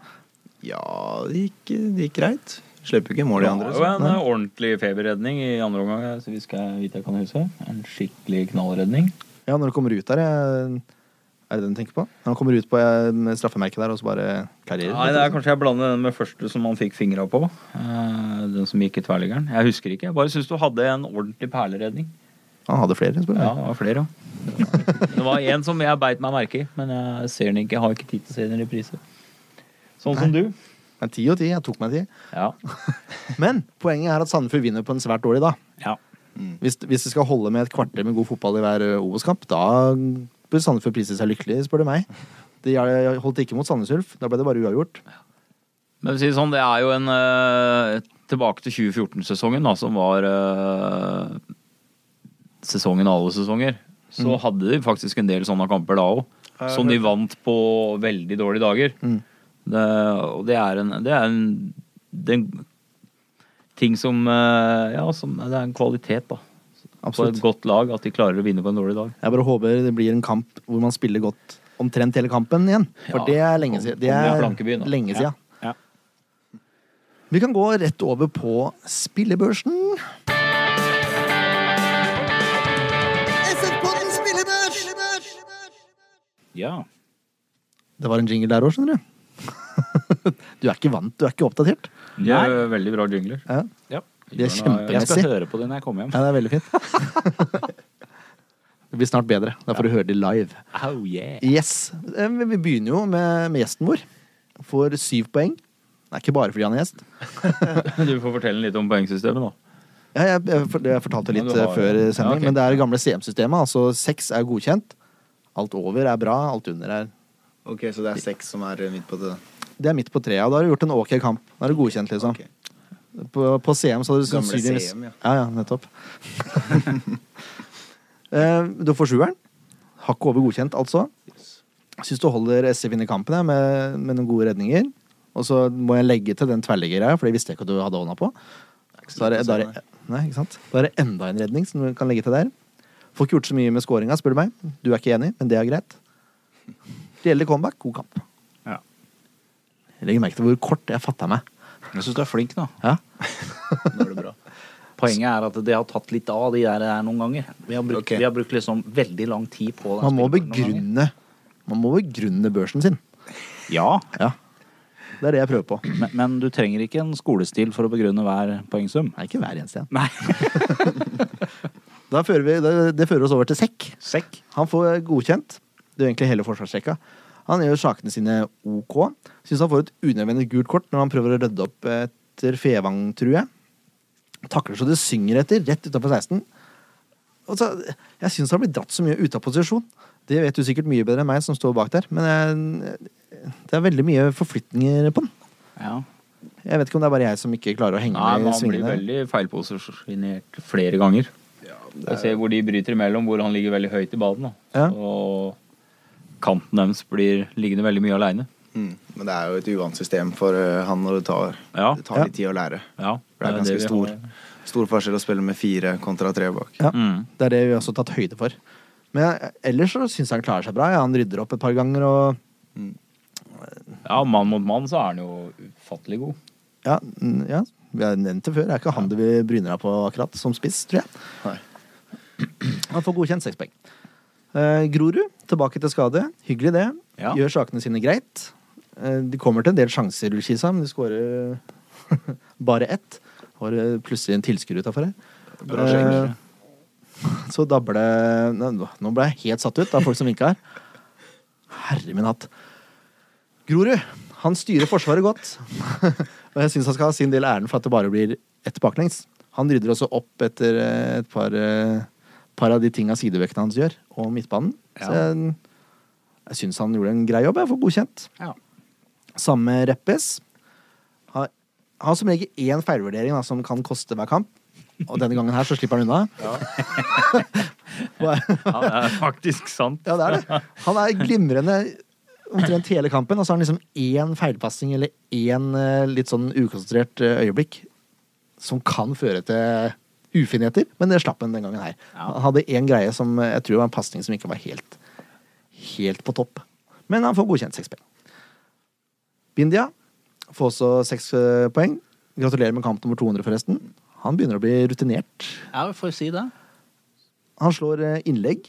S4: Ja, det gikk, det gikk greit. Slipper jo ikke mål i
S5: Det
S4: andre.
S5: var
S4: Så.
S5: jo en eh, ordentlig feberredning i andre omgang, eh, så vi skal vite jeg kan huske. En skikkelig knallredning.
S1: Ja, når du kommer ut der eh, Er det den du tenker på? Når han kommer ut på eh, straffemerket der, og så bare karrierer?
S5: Nei, det er kanskje jeg blander den med første som han fikk fingra på. Eh, Den som gikk i tverrliggeren. Jeg husker ikke. Jeg bare syns du hadde en ordentlig perleredning.
S1: Han hadde flere, spør du.
S5: Ja, det var flere, ja. Det var en som jeg beit meg merke i, men jeg ser den ikke. Jeg har ikke tid til å se den i reprise. Sånn som du.
S1: Men ti og ti. Jeg tok meg ti.
S5: Ja.
S1: Men poenget er at Sandefjord vinner på en svært dårlig dag.
S5: ja.
S1: Hvis, hvis det skal holde med et kvarter med god fotball i hver eh, Obos-kamp, da bør Sandefjord prise seg lykkelig, spør du meg. De er- holdt ikke mot Sandnes Ulf. Da ble det bare uavgjort.
S5: Men for å si det sånn, det er jo en eh, Tilbake til 2014-sesongen, da, som var eh, sesongen alle sesonger. Så hadde de faktisk en del sånne kamper da òg, som de vant på veldig dårlige dager. Det, og det er en Det er en det er en ting som eh, Ja, som, det er en kvalitet, da. På
S1: Absolutt.
S5: et godt lag at de klarer å vinne på en dårlig dag.
S1: Jeg bare håper det blir en kamp hvor man spiller godt omtrent hele kampen igjen. For
S5: Ja,
S1: det er lenge siden. Det
S5: om vi har
S1: er
S5: plankebyen, da.
S1: lenge
S2: Ja,
S1: siden.
S2: ja.
S1: Vi kan gå rett over på spillebørsen.
S2: ja.
S1: Det var en jingle der òg, skjønner du. Du er ikke vant, du er ikke oppdatert.
S5: De er veldig bra jingler.
S1: Ja,
S2: ja.
S1: de er
S2: Jeg skal
S1: kjempemessig.
S2: høre på det når jeg kommer hjem.
S1: Ja, det er veldig fint. Det blir snart bedre. Da får du høre de live.
S2: Oh, yeah.
S1: Yes. Eh, Vi vi begynner jo med, med gjesten vår. Får syv poeng. Det er ikke bare fordi han er gjest.
S5: Du får fortelle litt om poengsystemet, da.
S1: Ja, jeg, jeg, for- jeg fortalte
S5: Ja,
S1: litt
S5: du har-
S1: eh, før
S5: ja,
S1: sending,
S5: ok.
S1: men det er det gamle CM-systemet. Altså seks er godkjent. Alt over er bra, alt under er
S4: Ok, Så det er seks som er eh, midt på det?
S1: Det er midt på treet, og da har du gjort en ok kamp. Da er du godkjent, liksom.
S4: Ok.
S1: På, på CM så hadde du
S4: Gamle
S1: sannsynligvis
S4: CM, ja.
S1: ja, ja, nettopp. Eh, du får sjueren. Hakket over godkjent, altså. Syns du holder SF inne i kampen jeg, med, med noen gode redninger. Og så må jeg legge til den tverrliggeren, for det visste jeg ikke at du hadde hånda på. Så er det, da, er det, nei, ikke sant? da er det enda en redning som du kan legge til der. Får ikke gjort så mye med scoringa, spør du meg. Du er ikke enig, men det er greit. Det gjelder comeback, god kamp.
S2: Ja.
S1: Jeg legger merke til hvor kort jeg fatta meg.
S2: Jeg syns du er flink nå.
S1: Ja.
S4: Nå er det bra.
S2: Poenget er at det har tatt litt av de der her noen ganger. Vi har brukt,
S4: Ok.
S2: vi har brukt liksom veldig lang tid på den
S1: Man må
S2: spilleren noen ganger.
S1: begrunne Man må begrunne børsen sin.
S2: Ja,
S1: Ja. Det er det jeg prøver på.
S2: men, men du trenger ikke en skolestil for å begrunne hver poengsum.
S1: Nei, ikke hver eneste en.
S2: Nei.
S1: Da fører vi, det, det fører oss over til sekk.
S2: Sekk.
S1: Han får godkjent. Det er jo egentlig hele forsvarsrekka. Han gjør sakene sine OK. Syns han får et unødvendig gult kort når han prøver å rydde opp etter Fevang, tror jeg. Takler så det synger etter, rett utafor 16. Og så, jeg syns han blir dratt så mye ut av posisjon. Det vet du sikkert mye bedre enn meg som står bak der, men jeg, det er veldig mye forflytninger på den.
S2: Ja.
S1: Jeg vet ikke om det er bare jeg som ikke klarer å henge
S5: Nei,
S1: med
S5: men
S1: i
S5: han blir
S1: svingene.
S5: veldig feilposisjonert flere ganger. Og ser hvor de bryter imellom, hvor han ligger veldig høyt i baden.
S1: Ja.
S5: Da. Og kanten deres blir liggende veldig mye aleine.
S4: Mm. Men det er jo et uvant system for eh, han, og det tar,
S5: Ja.
S4: det tar litt tid å lære.
S5: Ja,
S4: For det er ganske
S5: vi
S4: stor,
S5: har.
S4: stor forskjell å spille med fire kontra tre bak.
S1: Ja.
S5: Mm.
S1: Det er det vi også har tatt høyde for. Men jeg- ellers så syns jeg han klarer seg bra. Ja, han rydder opp et par ganger og
S5: Ja, mann mot mann så er han jo ufattelig god.
S1: Ja, mm, ja. Vi har nevnt det før. Det er ikke han du vil bryne deg på akkurat som spiss, tror jeg.
S4: Nei.
S1: Han får godkjent seks poeng. Eh, Grorud, tilbake til skade. Hyggelig, det.
S5: Ja.
S1: Gjør sakene sine greit. Eh, de kommer til en del sjanser, Ullkisa, men de skårer bare ett. Har eh, plutselig en tilskuer utafor her.
S4: Bra skjegg.
S1: Eh, så dabber det Nå nå ble jeg helt satt ut av folk som vinka her. Herre min hatt. Grorud, han styrer Forsvaret godt. og jeg syns han skal ha sin del æren for at det bare blir ett baklengs. Han rydder også opp etter eh, et par, eh, par av de tinga sidevektene hans gjør, og midtbanen. Så jeg, jeg syns han gjorde en grei jobb. Jeg får godkjent.
S2: Ja.
S1: Samme Reppes. Har, har som regel én feilvurdering da, som kan koste hver kamp. Og denne gangen her så slipper han unna. Ja.
S5: Ja, det er faktisk sant.
S1: Ja, det er det. Han er glimrende omtrent hele kampen, og så har han liksom én feilpassing eller én eh, litt sånn ukonsentrert eh, øyeblikk som kan føre til ufinheter, men det slapp han den gangen her.
S2: Ja.
S1: Han hadde én greie som eh, jeg tror var en pasning som ikke var helt, helt på topp. Men han får godkjent seks poeng. Bindia får også seks eh, poeng. Gratulerer med kamp nummer 200, forresten. Han begynner å bli rutinert.
S2: ja, vi får si det.
S1: Han slår eh, innlegg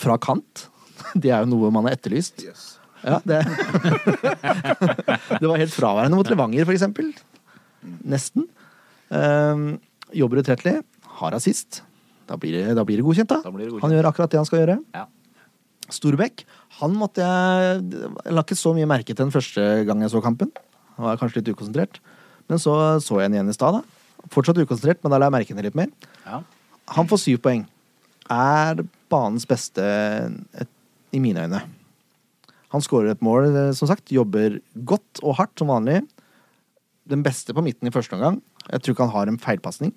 S1: fra kant. Det er jo noe man har etterlyst. Ja, det. det var helt fraværende mot Levanger, for eksempel. Nesten. Um, jobber utrettelig. Har assist. Da blir, det, da blir det godkjent, da.
S2: Da blir det godkjent.
S1: Han gjør akkurat det han skal gjøre.
S2: Ja.
S1: Storbekk, han måtte jeg Jeg la ikke så mye merke til den første gang jeg så kampen. Jeg var kanskje litt ukonsentrert. Men så så jeg den igjen i stad, da. Fortsatt ukonsentrert, men da la jeg merke til litt mer.
S2: Ja.
S1: Han får syv poeng. Er banens beste et, i mine øyne. Han skårer et mål, eh, som sagt. Jobber godt og hardt, som vanlig. Den beste på midten i første omgang. Jeg tror ikke han har en feilpasning,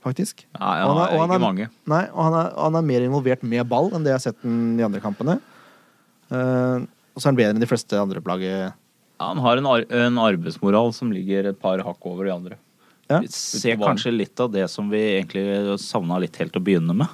S1: faktisk.
S5: Nei,
S1: Og
S5: han har
S1: og
S5: ikke
S1: er-
S5: mange.
S1: Nei, og han er, han er mer involvert med ball enn det jeg har sett den de andre kampene. Eh, og så er han bedre enn de fleste andre plaget.
S5: Ja, han har en, ar en arbeidsmoral som ligger et par hakk over de andre.
S1: Ja.
S2: Vi ser kanskje litt av det som vi egentlig savna litt helt å begynne med.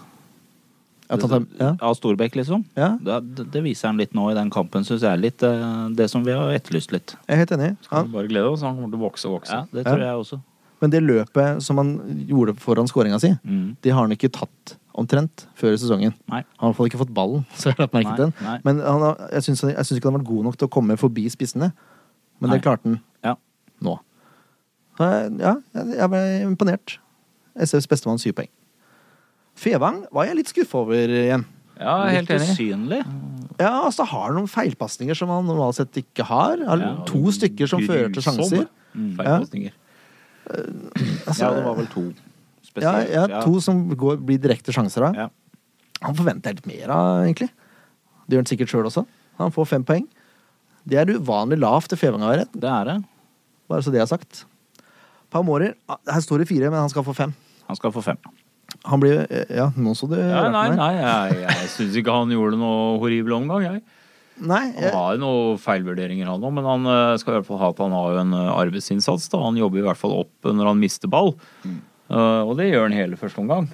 S1: Jeg har tatt ham- ja.
S2: Av Storbekk, liksom.
S1: Ja.
S2: Det, det viser han litt nå i den kampen, syns jeg. er Litt eh, det som vi har etterlyst litt.
S1: Jeg er helt enig.
S5: Skal
S1: Han,
S5: vi bare glede oss, han kommer til å vokse og vokse.
S2: Ja, det
S1: Ja.
S2: tror jeg også.
S1: men det løpet som han gjorde foran skåringa si,
S2: Mm.
S1: det har han ikke tatt omtrent før i sesongen.
S2: Nei.
S1: Han har i hvert fall ikke fått ballen, så jeg har lagt merke
S2: Nei,
S1: til
S2: nei.
S1: den. Men han har, jeg syns jeg syns ikke han har vært god nok til å komme forbi spissene. Men det
S2: Nei.
S1: klarte han
S2: Ja.
S1: nå. Så jeg- Ja, jeg jeg ble imponert. SFs bestemann syv poeng. Fevang var jeg litt skuffa over igjen.
S5: Ja, jeg er helt
S2: litt
S5: enig.
S2: usynlig.
S1: Ja, altså har noen feilpasninger som han normalt sett ikke har. Han,
S5: Ja,
S1: to stykker som fører til
S5: grusomme
S1: sjanser.
S5: Mm.
S2: Mm.
S5: feilpasninger.
S1: Altså,
S2: ja, det var vel to
S1: ja,
S2: spesielt.
S1: ja, to som går, blir direkte sjanser av.
S2: Ja.
S1: Han forventer helt mer av, egentlig. Det gjør han sikkert sjøl også. Han får fem poeng. Det er uvanlig lavt til Fevang har rett,
S2: Det er det.
S1: bare så det er sagt. Palmårer, her står det fire, men han skal få fem.
S2: Han skal få fem.
S1: Han blir eh, Ja, nå så du
S5: Ja,
S1: rart
S5: nei,
S1: meg.
S5: nei, jeg, jeg syns ikke han gjorde noe horribel omgang, jeg.
S1: Nei,
S5: Han
S1: jeg,
S5: har jo noen feilvurderinger, han òg, men han eh, skal i hvert fall ha at han har jo en eh, arbeidsinnsats. da. Han jobber i hvert fall opp når han mister ball, Eh, og det gjør han hele første omgang.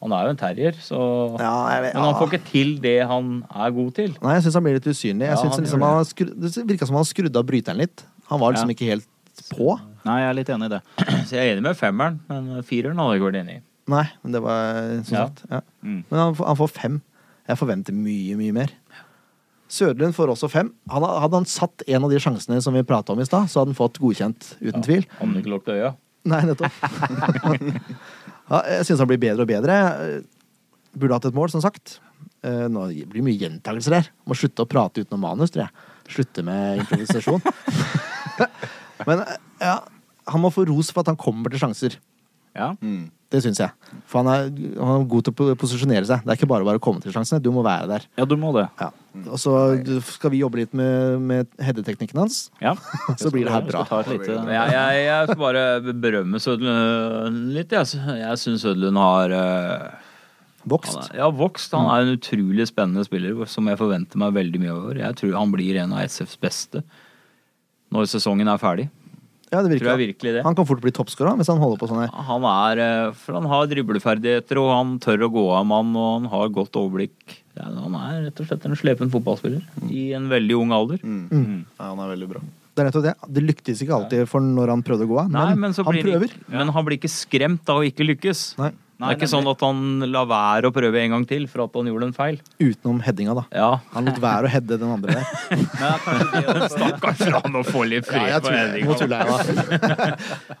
S5: Han er jo en terrier, så
S1: Ja, jeg vet-
S5: Men han
S1: ja.
S5: får ikke til det han er god til.
S1: nei, jeg syns han blir litt usynlig. Jeg
S5: Ja,
S1: synes
S5: han
S1: liksom
S5: gjør
S1: han har skru, det virka som han skrudde av bryteren litt. Han var liksom
S5: Ja.
S1: ikke helt på.
S2: Nei, jeg er litt enig i det.
S5: Så jeg er enig med femmeren, men fireren hadde jeg ikke vært enig i.
S1: Nei, men det var som
S5: Ja.
S1: sagt. Ja.
S2: Mm.
S1: Men han, får- han får fem. Jeg forventer mye, mye mer. Søderlund får også fem. Han, hadde han satt en av de sjansene som vi prata om i stad, så hadde han fått godkjent, uten tvil.
S5: Han hadde ikke lukket øya.
S1: Nei, nettopp. ja, jeg syns han blir bedre og bedre. Burde hatt et mål, som sagt. Eh, Nå blir det mye gjentakelser her. Må slutte å prate utenom manus, tror jeg. Slutte med improvisasjon. Men eh, ja, han må få ros for at han kommer til sjanser.
S2: Ja.
S1: Det syns jeg. For han er, han er god til å po- posisjonere seg. Det er ikke bare bare å komme til sjansene. Du må være der.
S2: ja, du må det.
S1: Ja. Og så skal vi jobbe litt med, med headeteknikken hans.
S2: Ja.
S1: Så blir det her bra.
S2: Vi skal ta et lite-
S5: Men Jeg, jeg, jeg skal bare berømme Sødlund øh, litt. Jeg, altså. jeg syns Sødlund har eh,
S1: Vokst.
S5: Han er, ja, vokst. Han er en utrolig spennende spiller som jeg forventer meg veldig mye over. Jeg tror han blir en av SFs beste når sesongen er ferdig.
S1: Ja, det
S5: Tror jeg
S1: virker.
S5: virkelig det.
S1: Han kan fort bli toppskårer hvis han holder på sånn her.
S5: Han er, eh, for han har dribleferdigheter, og han tør å gå av mann, og han har godt overblikk. Ja, han er rett og slett en slepen fotballspiller i en veldig ung alder.
S1: Mm.
S4: Ja, han er veldig bra.
S1: Det er nettopp det. Det lyktes ikke alltid for når han prøvde å gå av,
S5: Nei,
S1: men,
S5: men, så
S1: han
S5: blir han
S1: prøver.
S5: ikke, men han blir ikke skremt av å ikke lykkes.
S1: Nei,
S5: det er ikke sånn at han lar være å prøve en gang til for at han gjorde en feil.
S1: utenom headinga, da.
S5: Ja,
S1: Han lot være å heade den andre der.
S5: Stakkars han å få litt fred på Henrik.
S1: Nå tuller jeg, da.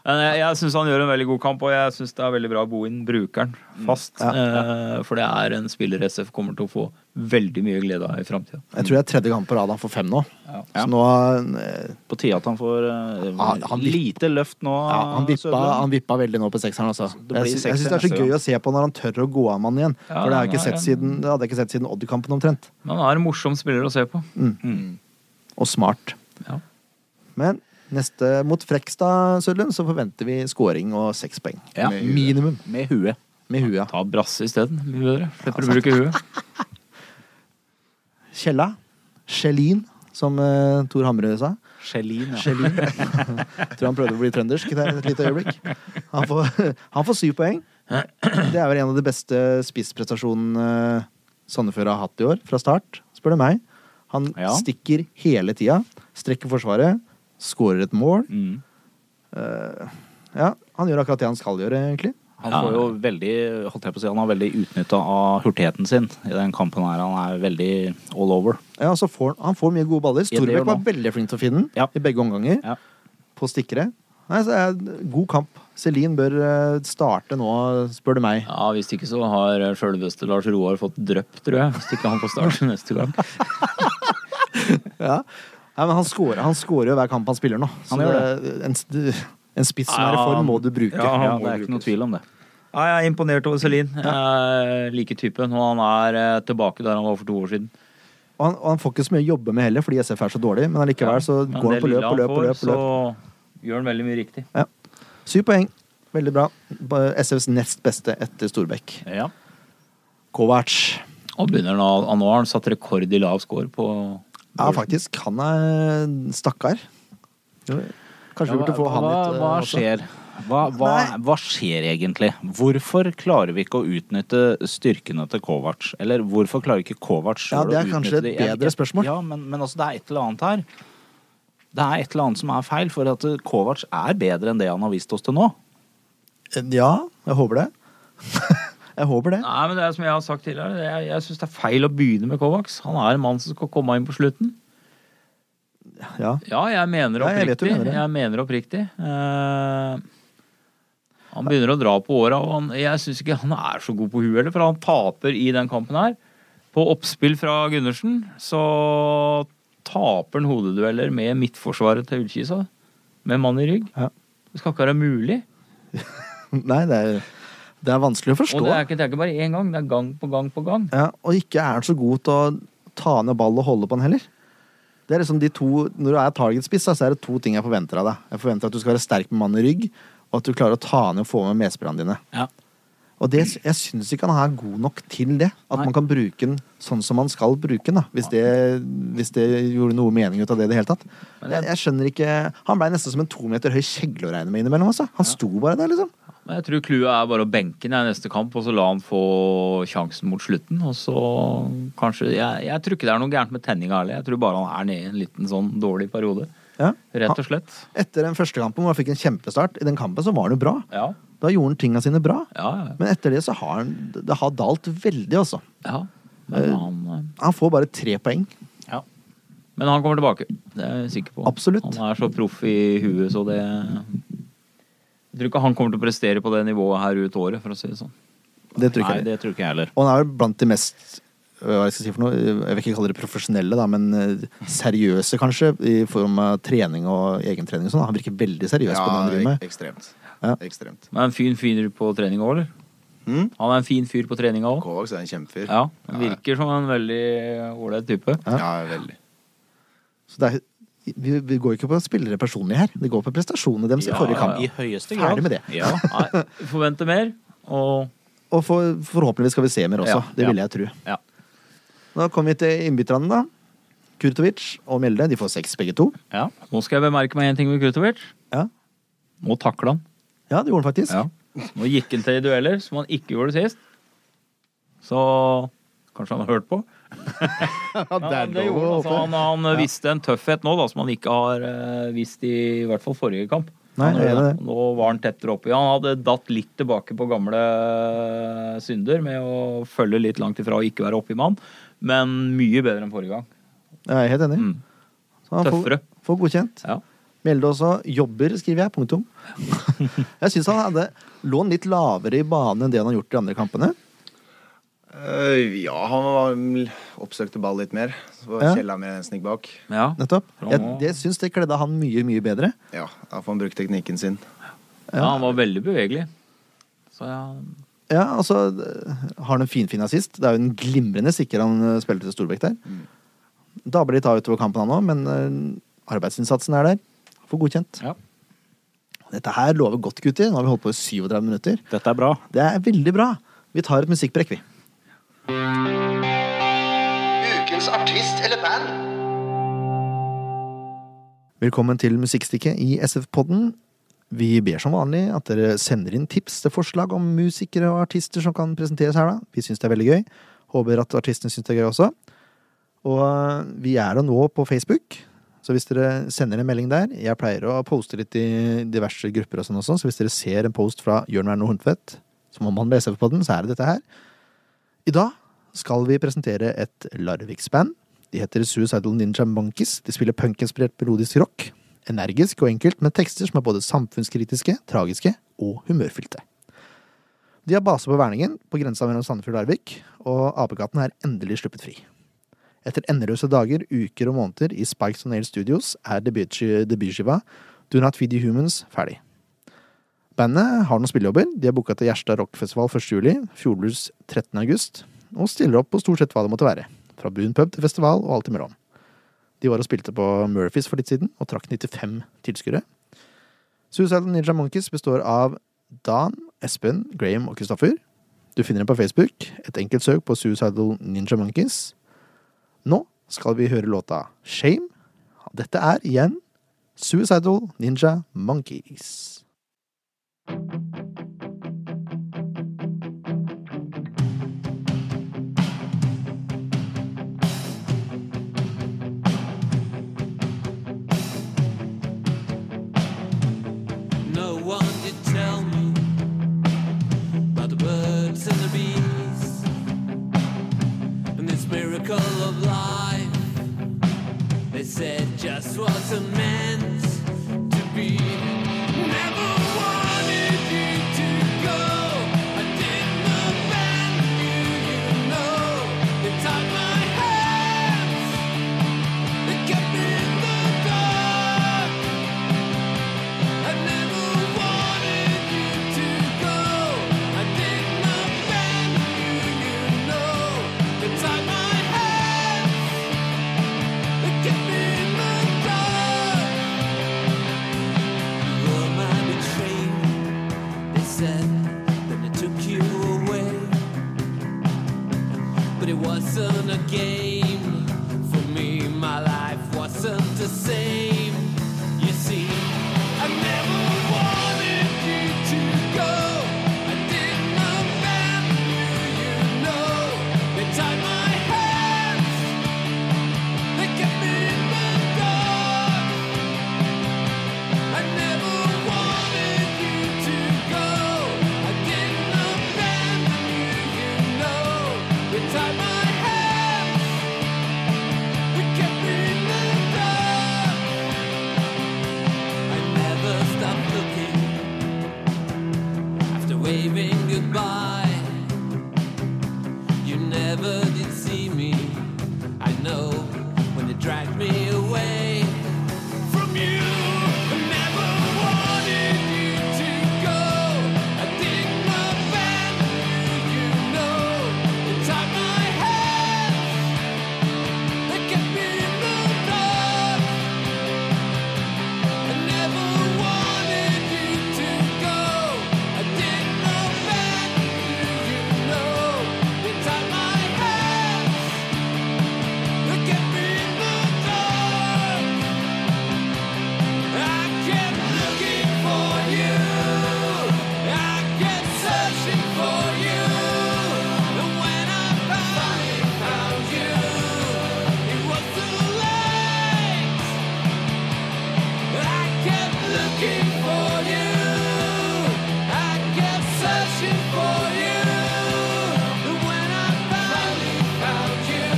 S5: Men jeg, jeg syns han gjør en veldig god kamp, og jeg syns det er veldig bra å bo inn brukeren fast.
S1: Ja,
S5: Eh, For det er en spiller SF kommer til å få veldig mye glede av i framtida.
S1: Jeg tror det er tredje kamp på rad han får fem nå. Så nå eh,
S2: På tide at han får eh,
S1: Han- han vip-
S2: lite løft nå.
S1: ja, han, vippa,
S2: Sødlund.
S1: han vippa veldig nå på sekseren, altså.
S2: blir
S1: Jeg, sy- jeg
S2: sekser
S1: syns det er så
S2: neste
S1: gøy
S2: gang.
S1: å se på når han tør å gå av mannen igjen.
S5: Ja,
S1: For det har jeg
S5: ja,
S1: ikke sett
S5: ja.
S1: siden, det hadde jeg ikke sett siden Odd-kampen omtrent.
S5: Men han er en morsom spiller å se på.
S2: Mm.
S1: Og smart.
S5: Ja.
S1: Men neste mot Frekstad, Sørlund, så forventer vi scoring og seks poeng.
S2: Ja.
S1: Minimum.
S2: Med huet.
S1: Med huet.
S5: Ta Brasse isteden. Mye bedre. Slipper å bruke huet.
S1: Kjella. Kjellin, som uh, Tor Hamre sa.
S2: Gelin, ja.
S1: Kjellin. Tror han prøvde å bli trøndersk der et lite øyeblikk. Han får, han får syv poeng. Det er vel en av de beste spissprestasjonene eh, Sandefjord har hatt i år, fra start, spør du meg. Han
S2: Ja.
S1: stikker hele tida, strekker forsvaret, skårer et mål. Eh,
S2: Mm.
S1: Ja, han gjør akkurat det han skal gjøre, egentlig.
S2: Han får jo veldig holdt jeg på å si, han er veldig utnytta av hurtigheten sin i den kampen her. Han er veldig all over.
S1: Ja, og så får han, han får mye gode baller.
S2: Ja, det gjør
S1: Storbekk var
S2: han.
S1: veldig flink til å finne den
S2: Ja.
S1: i begge omganger.
S2: Ja.
S1: På stikkere. Nei, så er det God kamp. Celine bør eh, starte nå, spør du meg.
S5: Ja, Hvis ikke så har sjølveste Lars Roar fått drypp, tror jeg. Hvis ikke han får starte neste gang.
S1: Ja. Nei, men han scorer, han scorer jo hver kamp han spiller nå. Så
S2: Han gjør
S1: det, en, s- en spiss som er i
S5: Ja,
S1: form, må du bruke.
S5: ja, han
S2: Ja,
S5: må
S2: det er ikke noe
S5: brukes.
S2: tvil om det.
S5: Ja, jeg er imponert over Celine. Jeg liker typen, og han er eh, tilbake der han var for to år siden.
S1: Og, han, og han får ikke så mye å jobbe med heller, fordi SF er så dårlig, men allikevel så
S5: Men
S1: går
S5: det
S1: han på løp
S5: lille
S1: og løp. og
S5: får,
S1: løp, og løp.
S5: Så gjør han veldig mye riktig.
S1: Syv poeng. Veldig bra. Ba- SFs nest beste etter Storbekk.
S2: Ja.
S1: Kovac.
S5: Og begynner nå, ah, nå har han satt rekord i lav score på
S1: Ja, faktisk. Han er stakkar. Kanskje vi burde få
S2: hva,
S1: han litt. eh,
S2: hva
S1: også.
S2: skjer? Hva, hva, hva skjer egentlig? Hvorfor klarer vi ikke å utnytte styrkene til Kovac? Eller hvorfor klarer ikke Kovac
S1: Ja,
S2: selv
S1: det er
S2: å utnytte
S1: kanskje et
S2: de? Jeg-
S1: bedre spørsmål.
S2: Ja, men, men altså, det er et eller annet her. Det er et eller annet som er feil, for at eh, Kovac er bedre enn det han har vist oss til nå.
S1: Ja, jeg håper det. jeg håper det.
S5: Nei, men det er som jeg har sagt tidligere, det er, jeg syns det er feil å begynne med Kovacs. Han er en mann som skal komme inn på slutten.
S1: Ja.
S5: Ja, jeg mener
S1: Ja, jeg vet du
S5: oppriktig. Jeg,
S1: mener det.
S5: mener oppriktig. Eh, han begynner å dra på åra, og han, jeg syns ikke han er så god på huet heller, for han taper i den kampen her. På oppspill fra Gundersen så taper han hodedueller med midtforsvaret til Ullkisa. Med mann i rygg.
S1: Ja.
S5: Det skal ikke være mulig.
S1: Nei, det er, det er vanskelig å forstå.
S5: Og det er ikke, det er ikke bare én gang, det er gang på gang på gang.
S1: Ja, og ikke er han så god til å ta ned ball og holde på den heller. Det er liksom de to, Når du er targetspiss, da, så er det to ting jeg forventer av deg. Jeg forventer at du skal være sterk med mann i rygg, og at du klarer å ta ned og få med medspillerne dine.
S2: Ja.
S1: Og det, jeg syns ikke han er god nok til det. At
S2: Nei.
S1: man kan bruke den sånn som man skal bruke den. da, Hvis det, hvis det gjorde noe mening ut av det i det hele tatt. Jeg, jeg skjønner ikke, Han blei nesten som en to meter høy kjegle å regne med innimellom. Altså. Han sto bare der, liksom.
S5: Men jeg tror clouet er bare å benke ham i neste kamp, og så la han få sjansen mot slutten. Og så kanskje Jeg, jeg tror ikke det er noe gærent med tenninga heller. Jeg tror bare han er nede i en liten sånn dårlig periode.
S1: Ja.
S5: Rett og slett.
S1: Etter den første kampen hvor han fikk en kjempestart, i den kampen så var han jo bra.
S5: Ja.
S1: Da gjorde han tinga sine bra.
S5: Ja, ja.
S1: Men etter det så har han Det har dalt veldig, altså.
S5: ja.
S1: Eh.
S5: Men, han,
S1: Han får bare tre poeng.
S5: men han kommer tilbake. Det er jeg sikker på.
S1: Absolutt.
S5: Han er så proff i huet, så det Jeg tror ikke han kommer til å prestere på det nivået her ut året, for å si det sånn.
S1: Det tror
S2: Nei,
S1: jeg ikke.
S2: det tror ikke jeg heller.
S1: Og han er vel blant de mest øh, hva jeg skal si for noe, jeg vil ikke kalle det profesjonelle, da, men øh, seriøse, kanskje, i form av trening og egentrening og sånn. Han virker veldig seriøs på det han driver med.
S4: ekstremt.
S1: Ja.
S4: Ekstremt.
S5: Men en fin fyr på treninga òg, eller?
S1: Hmm?
S4: Mm?
S5: Han er en fin fyr på treninga òg.
S4: Kovacs er en kjempefyr.
S5: Ja, han virker som en veldig ålreit type.
S1: Ja.
S4: ja, veldig.
S1: Så det er, vi, vi går ikke på spillere personlig her, det går på prestasjonene deres i forrige kamp.
S2: I høyeste grad.
S1: Ferdig med det.
S2: Ja.
S5: Nei, forventer mer. Og
S1: Og for, forhåpentligvis skal vi se mer også.
S5: Ja,
S1: det
S5: ja.
S1: vil jeg tro.
S2: Ja.
S1: Da kommer vi til innbytterne, da. Kurtovic og Mjelde. De får seks, begge to.
S2: Ja.
S5: nå skal jeg bemerke meg én ting med Krutovic.
S1: Ja.
S5: Nå takla han.
S1: ja, det gjorde han faktisk.
S5: Nå gikk han til i dueller, som han ikke gjorde sist. Så kanskje han har hørt på. Ja, det gjorde han. altså, han, han viste en tøffhet nå da, som han ikke har eh, vist i, i hvert fall forrige kamp.
S1: Nei,
S5: Han gjorde
S1: det er
S5: det. Nå var han tettere oppi. Han hadde datt litt tilbake på gamle eh, synder med å følge litt langt ifra og ikke være oppi mann, men mye bedre enn forrige gang.
S1: Jeg er helt enig.
S5: Mm.
S1: Så han får,
S5: Tøffere.
S1: får godkjent.
S5: Ja.
S1: Mjelde også jobber, skriver jeg. Punktum. jeg syns han hadde lå litt lavere i bane enn det han har gjort i andre kampene.
S4: Eh, ja, han var, oppsøkte ball litt mer. Så
S1: Ja.
S4: ja. Kjella mer enn snikk bak.
S5: ja.
S1: Nettopp.
S5: Bra
S1: Jeg,
S5: nå.
S1: det syns det kledde han mye, mye bedre.
S4: Ja, da får han bruke teknikken sin.
S5: Ja, han var veldig bevegelig. Så ja,
S1: Ja, altså Har han en finfin assist? Det er jo en glimrende sikker han eh, spiller til Storbekk der.
S5: Mm.
S1: Da blir det ta utover kampen han òg, men eh, arbeidsinnsatsen er der. Får godkjent.
S5: Ja.
S1: Dette her lover godt, gutter. Nå har vi holdt på i 37 minutter.
S2: Dette er bra.
S1: Det er veldig bra. Vi tar et musikkbrekk, vi.
S6: Ukens artist eller band.
S1: Velkommen til musikkstikket i SF-podden. Vi ber som vanlig at dere sender inn tips til forslag om musikere og artister som kan presenteres her. da. Vi syns det er veldig gøy. Håper at artistene syns det er gøy også. Og øh, vi er da nå på Facebook, så hvis dere sender en melding der Jeg pleier å poste litt i diverse grupper og sånn også, så hvis dere ser en post fra Jørn Werner Horntvedt, som om han ved SF-podden, så er det dette her. I dag skal vi presentere et Larviksband. De heter Suicidal Ninja Monkeys. De spiller punkinspirert melodisk rock. Energisk og enkelt, med tekster som er både samfunnskritiske, tragiske og humørfylte. De har base på Verningen, på grensa mellom Sandefjord og Larvik, og apekatten er endelig sluppet fri. Etter endeløse dager, uker og måneder i Spikes on Nail Studios er debutski- debutskiva Do Not Feed You Humans ferdig. Bandet har noen spillejobber. De er booka til Gjerstad rockfestival 1. juli, Fjordlus 13. august, og stiller opp på stort sett hva det måtte være. Fra brun pub til festival og alt imellom. De var og spilte på Murphys for litt siden, og trakk 95 tilskuere. Suicidal Ninja Monkeys består av Dan, Espen, Graham og Kristoffer. Du finner dem på Facebook. Et enkelt søk på Suicidal Ninja Monkeys. Nå skal vi høre låta Shame. Dette er igjen Suicidal Ninja Monkeys.
S7: No one did tell me about the birds and the bees and this miracle of life. They said just wasn't meant to be. Never wanted you to go. I didn't abandon you, you know. You taught the same, you see. I never wanted you to go. I didn't abandon you, you know. They tied my hands. They kept me in the dark. I never wanted you to go. I didn't abandon you, you know. They tied my hands. They kept me in the dark. I never stopped looking after waving goodbye. You never did see me. I know when they dragged me away from you. I never wanted you to go. I didn't abandon you, you know. You tied my hands. They kept me in the dark. I never wanted you to go. I didn't abandon you, you know. You tied my hands. They kept me in the dark. I kept looking for you. I kept searching for you. And when I finally found you, it was too late. I kept looking for you. I kept searching for you. And when I finally found you,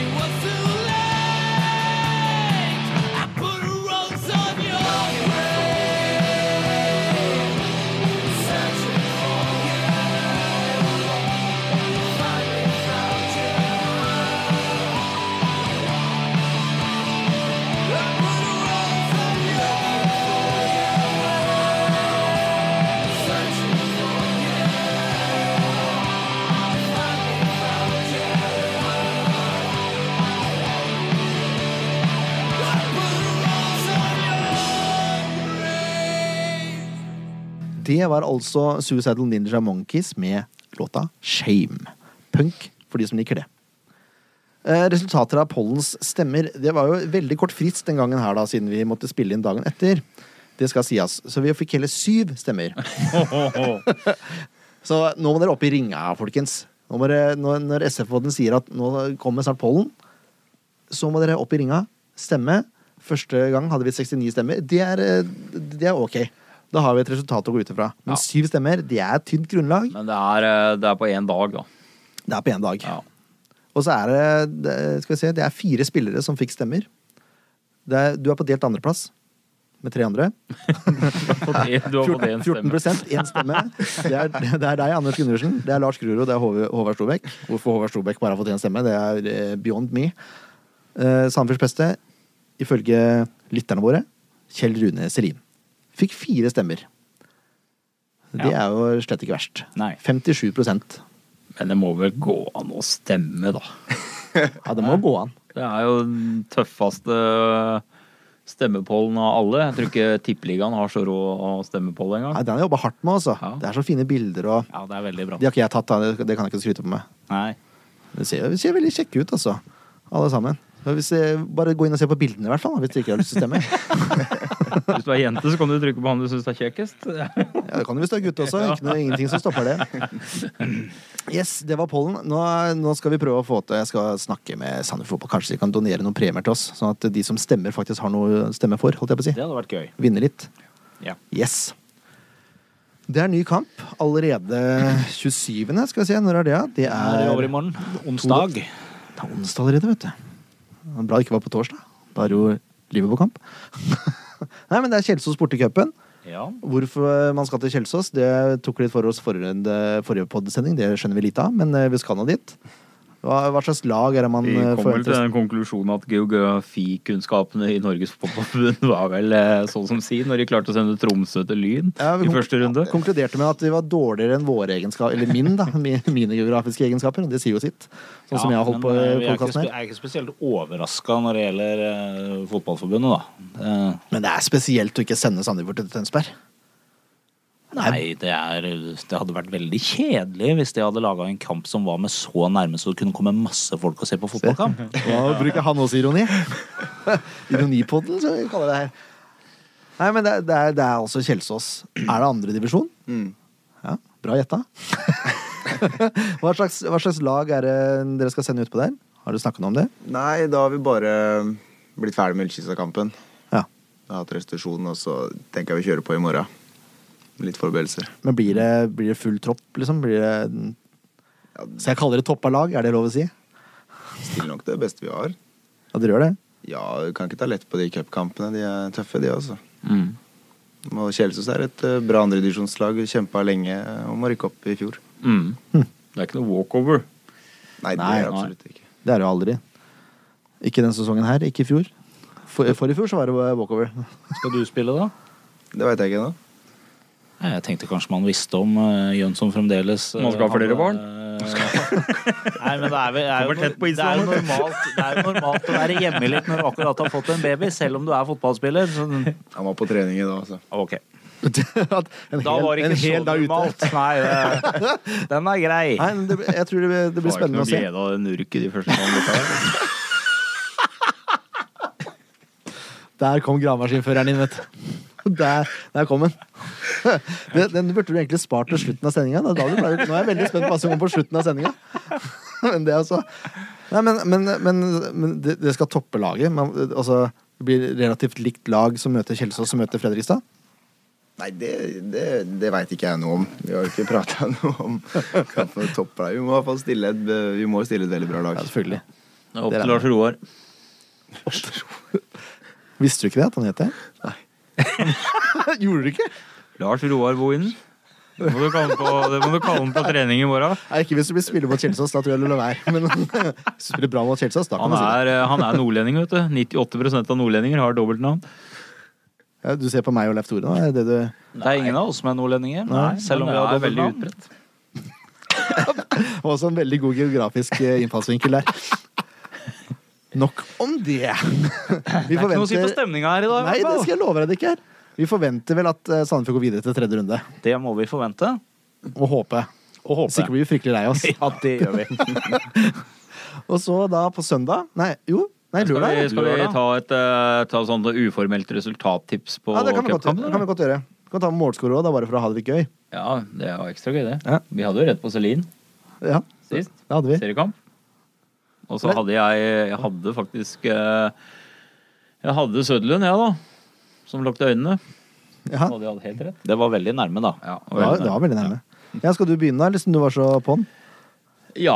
S7: it was too late. I put a rose on your grave, searching for you. Finally found you. I put a rose on your grave, searching for you. Finally found you. I put a rose on your grave.
S1: Det var altså Suicidal Ninja Monkeys med låta Shame. Punk for de som liker det. Eh, Resultater av pollens stemmer Det var jo veldig kort frist den gangen her da, siden vi måtte spille inn dagen etter. Det skal sies. Så vi fikk hele syv stemmer. Så nå må dere opp i ringa, folkens. Nå må dere, når, når SF-podden sier at nå kommer snart pollen, så må dere opp i ringa, stemme. Første gang hadde vi 69 stemmer. Det er, eh, det er ok. Da har vi et resultat å gå ut ifra. Men
S5: Ja.
S1: syv stemmer, det er et tynt grunnlag.
S5: Men det er, eh, det er på én dag, da.
S1: Det er på én dag.
S5: Ja.
S1: Og så er det, det- skal vi se, det er fire spillere som fikk stemmer. Det er, du er på delt andreplass med tre andre.
S5: På det, du har fått én
S1: 14,
S5: stemme.
S1: én stemme. Det er, det er deg, Anders Gundersen. Det er Lars Gruro. Det er Håv- Håvard Stobekk. Hvorfor Håvard Stobekk bare har fått én stemme, det er eh, beyond me. Eh, Sandefjords beste, ifølge lytterne våre, Kjell Rune Serin. Fikk fire stemmer. Det er jo slett ikke verst.
S5: Nei.
S1: 57
S5: Men det må vel gå an å stemme, da.
S1: Ja, det må gå an.
S5: Det er jo den tøffeste stemmepollen av alle. Jeg tror ikke Tippeligaen har så råd å stemmepoll engang.
S1: Nei, den har jeg jobba hardt med, altså.
S5: Ja.
S1: Det er så fine bilder og
S2: Ja, det er veldig bra.
S1: De har ikke jeg tatt, da. Det- det kan jeg ikke skryte på meg.
S2: Nei.
S1: Det ser, det ser veldig kjekke ut, altså. Alle sammen. Så Hvis jeg, bare gå inn og se på bildene, i hvert fall, da, hvis dere ikke har lyst til å stemme.
S5: Hvis du er jente, så kan du trykke på han du syns er kjekkest.
S1: Ja, det kan du hvis du er gutt også. Ikke noe, ingenting som stopper det. Yes, det var pollen. Nå, nå skal vi prøve å få til Jeg skal snakke med Sandefjord Fotball. Kanskje de kan donere noen premier til oss, sånn at de som stemmer, faktisk har noe å stemme for, holdt jeg på å si.
S2: Det hadde vært gøy.
S1: Vinne litt.
S2: Ja.
S1: Yes. Det er ny kamp allerede 27., skal vi se. Når er det? da? Det
S2: Er det over i
S1: er
S2: morgen? Onsdag.
S1: Det er onsdag allerede, vet du. Det er Bra det ikke var på torsdag. Da er det jo Liverpool-kamp. Nei, men det er Kjelsås borte i cupen.
S2: Ja.
S1: Hvorfor man skal til Kjelsås, det tok litt for oss forrige, forrige poddesending. Det skjønner vi lite av, men eh, vi skal nå dit. Hva, hva slags lag er det man
S5: Vi
S1: eh,
S5: kom vel til
S1: forventer?
S5: den konklusjonen at geografikunnskapene i Norges fotballforbund var vel eh, sånn som si når de klarte å sende Tromsø til Lyn
S1: Ja, vi
S5: i
S1: kon-
S5: første runde.
S1: Konkluderte med at vi var dårligere enn våre egenskaper, eller min, da. mi- Mine geografiske egenskaper. og Det sier jo sitt. Sånn som jeg har holdt på
S2: men, eh,
S1: i
S2: vi er ikke
S1: podkasten her.
S2: spe- Jeg er ikke spesielt overraska når det gjelder eh, Fotballforbundet, da. Eh,
S1: Men det er spesielt å ikke sende Sandefjord til Tønsberg.
S2: Nei, det, er, det hadde vært veldig kjedelig hvis de hadde laga en kamp som var med så nærme så det kunne komme masse folk og se på fotballkamp.
S1: Nå bruker han også ironi. Ironipodden, som vi kaller det her. Nei, men det, er- det, er, det er altså Kjelsås. Er det andre divisjon? Ja, bra gjetta. hva, slags, hva slags lag er det dere skal sende ut på der? Har du snakket noe om det?
S4: Nei, da har vi bare blitt ferdig med Ullkisa-kampen.
S1: Ja.
S4: Jeg har hatt restitusjon, og så tenker jeg vi kjører på i morgen. Med Litt forberedelser.
S1: Men blir det, blir det full tropp, liksom? Blir det, skal jeg kalle det toppa lag? Er det lov å si? Ja,
S4: Stiller nok det beste vi har.
S1: dere gjør det?
S4: Ja, du kan ikke ta lett på de cupkampene. De er tøffe, de også.
S1: Mm.
S4: Og Kjelsås er et eh, bra andredivisjonslag. Kjempa lenge eh, om å rykke opp i fjor.
S5: Mm. Det er ikke noe walkover.
S4: Nei, det
S1: Nei,
S4: er absolutt ikke.
S1: Det er det jo aldri. Ikke denne sesongen her, ikke i fjor. For, for i fjor så var det walkover.
S2: Skal du spille, da?
S4: Det veit jeg ikke ennå.
S2: Nei, Jeg tenkte kanskje man visste om eh, Jønsson fremdeles eh,
S5: Man skal ha flere
S2: hadde-
S5: barn.
S2: Nei, men det er, vel, det er,
S5: Kommer
S2: jo,
S5: tett på
S2: det er jo
S5: Island.
S2: normalt, det er jo normalt å være hjemme litt når du akkurat har fått en baby, selv om du er fotballspiller. Så,
S4: Han var på trening i dag, altså.
S2: ok.
S1: At en
S2: Da
S1: hel-
S2: var det
S1: en
S2: ikke så
S1: hel dag ute.
S2: normalt. Nei, det, den er grei.
S1: Nei, men det, jeg tror det, det blir spennende å se.
S5: Glede av den urke de første gangene.
S1: Der kom gravemaskinføreren inn, vet du. Der, der kom den. Den- Den burde du egentlig spart til slutten av sendinga. Nå er jeg veldig spent på hva som kommer på slutten av sendinga. Men det er altså Nei, men, men, men, men det, det skal toppe laget. Man, altså, det blir relativt likt lag som møter Kjelsås, som møter Fredrikstad.
S4: Nei, det, det, det veit ikke jeg noe om. Vi har jo ikke prata noe om kampen på topp her. Vi må i hvert fall stille et, vi må stille et veldig bra lag.
S1: Ja, selvfølgelig.
S5: Opp til Lars Roar.
S1: Visste du ikke det, at han het det? Nei. Gjorde du ikke?
S5: Lars Roar Bohinen. Det må du kalle ham på, det må du kalle ham på trening i morgen.
S1: Nei, ikke hvis du blir spiller mot Kjelsås, da tror jeg du lar være. Men hvis du spiller bra mot Kjelsås, da kan
S5: Han
S1: du si det.
S5: er, eh, han er nordlending, vet du. 98 av nordlendinger har dobbeltnavn.
S1: Ja, du ser på meg og Leif Tore nå, er det du
S2: Det er ingen av oss som er nordlendinger,
S1: Nei,
S2: selv om vi
S5: men det
S2: har
S5: er veldig
S2: dobbeltnavn.
S5: utbredt.
S1: Og også en veldig god geografisk eh, innfallsvinkel der. Nok om det. Vi
S2: Det er ikke noe å si på
S1: forventer
S2: stemninga her i dag. i
S1: Nei,
S2: hvert
S1: det
S2: fall.
S1: skal jeg love deg det ikke er. Vi forventer vel at eh, Sandefjord går videre til tredje runde.
S2: Det må vi forvente.
S1: Og håpe.
S2: Og
S1: Hvis ikke blir vi fryktelig lei oss.
S2: Ja, det gjør vi.
S1: Og så da på søndag Nei, jo. Nei,
S5: Skal
S1: lørdag.
S5: vi, skal vi
S2: Lørdag.
S5: ta et eh, ta sånn uformelt resultattips på
S1: Ja, det kan vi godt,
S5: cupkampen?
S1: det kan vi
S5: eller?
S1: godt gjøre. Vi kan ta med målskårer òg, bare for å ha det litt gøy.
S5: Ja, det var ekstra gøy, det.
S1: Ja.
S5: Vi hadde jo rett på Celine
S1: Ja,
S5: sist.
S1: det hadde vi.
S5: Seriekamp. Og så hadde jeg Jeg hadde faktisk eh, Jeg hadde Søderlund, jeg, da. Som lukket øynene.
S1: Ja,
S5: Hadde jeg hatt helt rett.
S2: Det var veldig nærme, da.
S5: Ja,
S1: det var, det var veldig nærme. Ja, skal du begynne, da? Liksom du var så på'n?
S5: Ja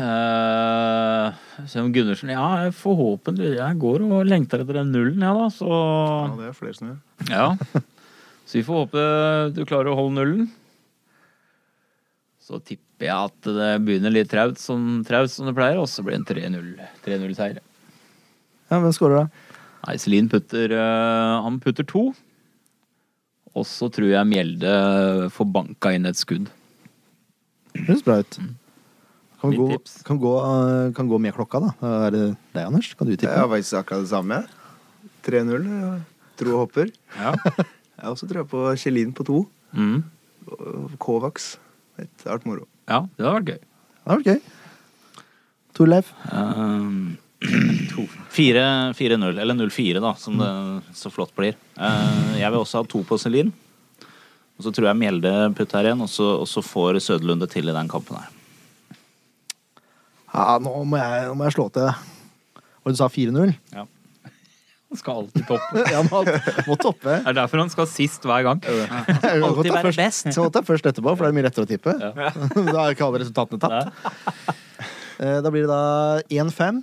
S5: eh, Selv om Gundersen Ja, forhåpentlig. Jeg går og lengter etter den nullen, jeg, da. Så
S4: Ja, det er flere som gjør.
S5: Ja. Så vi får håpe du klarer å holde nullen. Så tipper jeg at det begynner litt traut som, traut som det pleier, og så blir det en 3-0-seier.
S1: Ja, hvem skårer da?
S5: Nei, Selin putter eh, Han putter to. Og så tror jeg Mjelde får banka inn et skudd.
S1: Det Høres bra
S2: Mm.
S1: ut. Kan
S5: Mitt
S1: gå,
S5: tips.
S1: kan, gå, eh, kan gå med klokka, da. Er det deg, Anders? Kan du
S4: Jeg har
S1: tippe?
S4: faktisk akkurat det samme. 3-0. jeg Tror og hopper. Jeg har også trua på Kjellin på to.
S5: Mm.
S4: og Kovacs. Det har vært moro.
S5: Ja, det hadde vært gøy.
S1: Det var gøy. Torleif?
S2: Ehm,
S5: Eh,
S2: 4 4-0, eller 0-4, da, som det så flott blir. Eh, jeg vil også ha to på Celine. Og så tror jeg Mjelde putter her igjen, og så, og så får Søderlunde til i den kampen her.
S1: Ja, nå må jeg, nå må jeg slå til. Og du sa 4-0?
S5: Han skal alltid toppe.
S1: Ja, må, må toppe.
S5: Det er derfor han skal sist hver gang.
S1: Jeg må
S2: Alltid
S1: ta
S2: være
S1: først,
S2: best.
S1: så må ta først etterpå, for det er mye lettere å tippe. Da er ikke alle resultatene tatt. Eh, Da blir det da 1-5.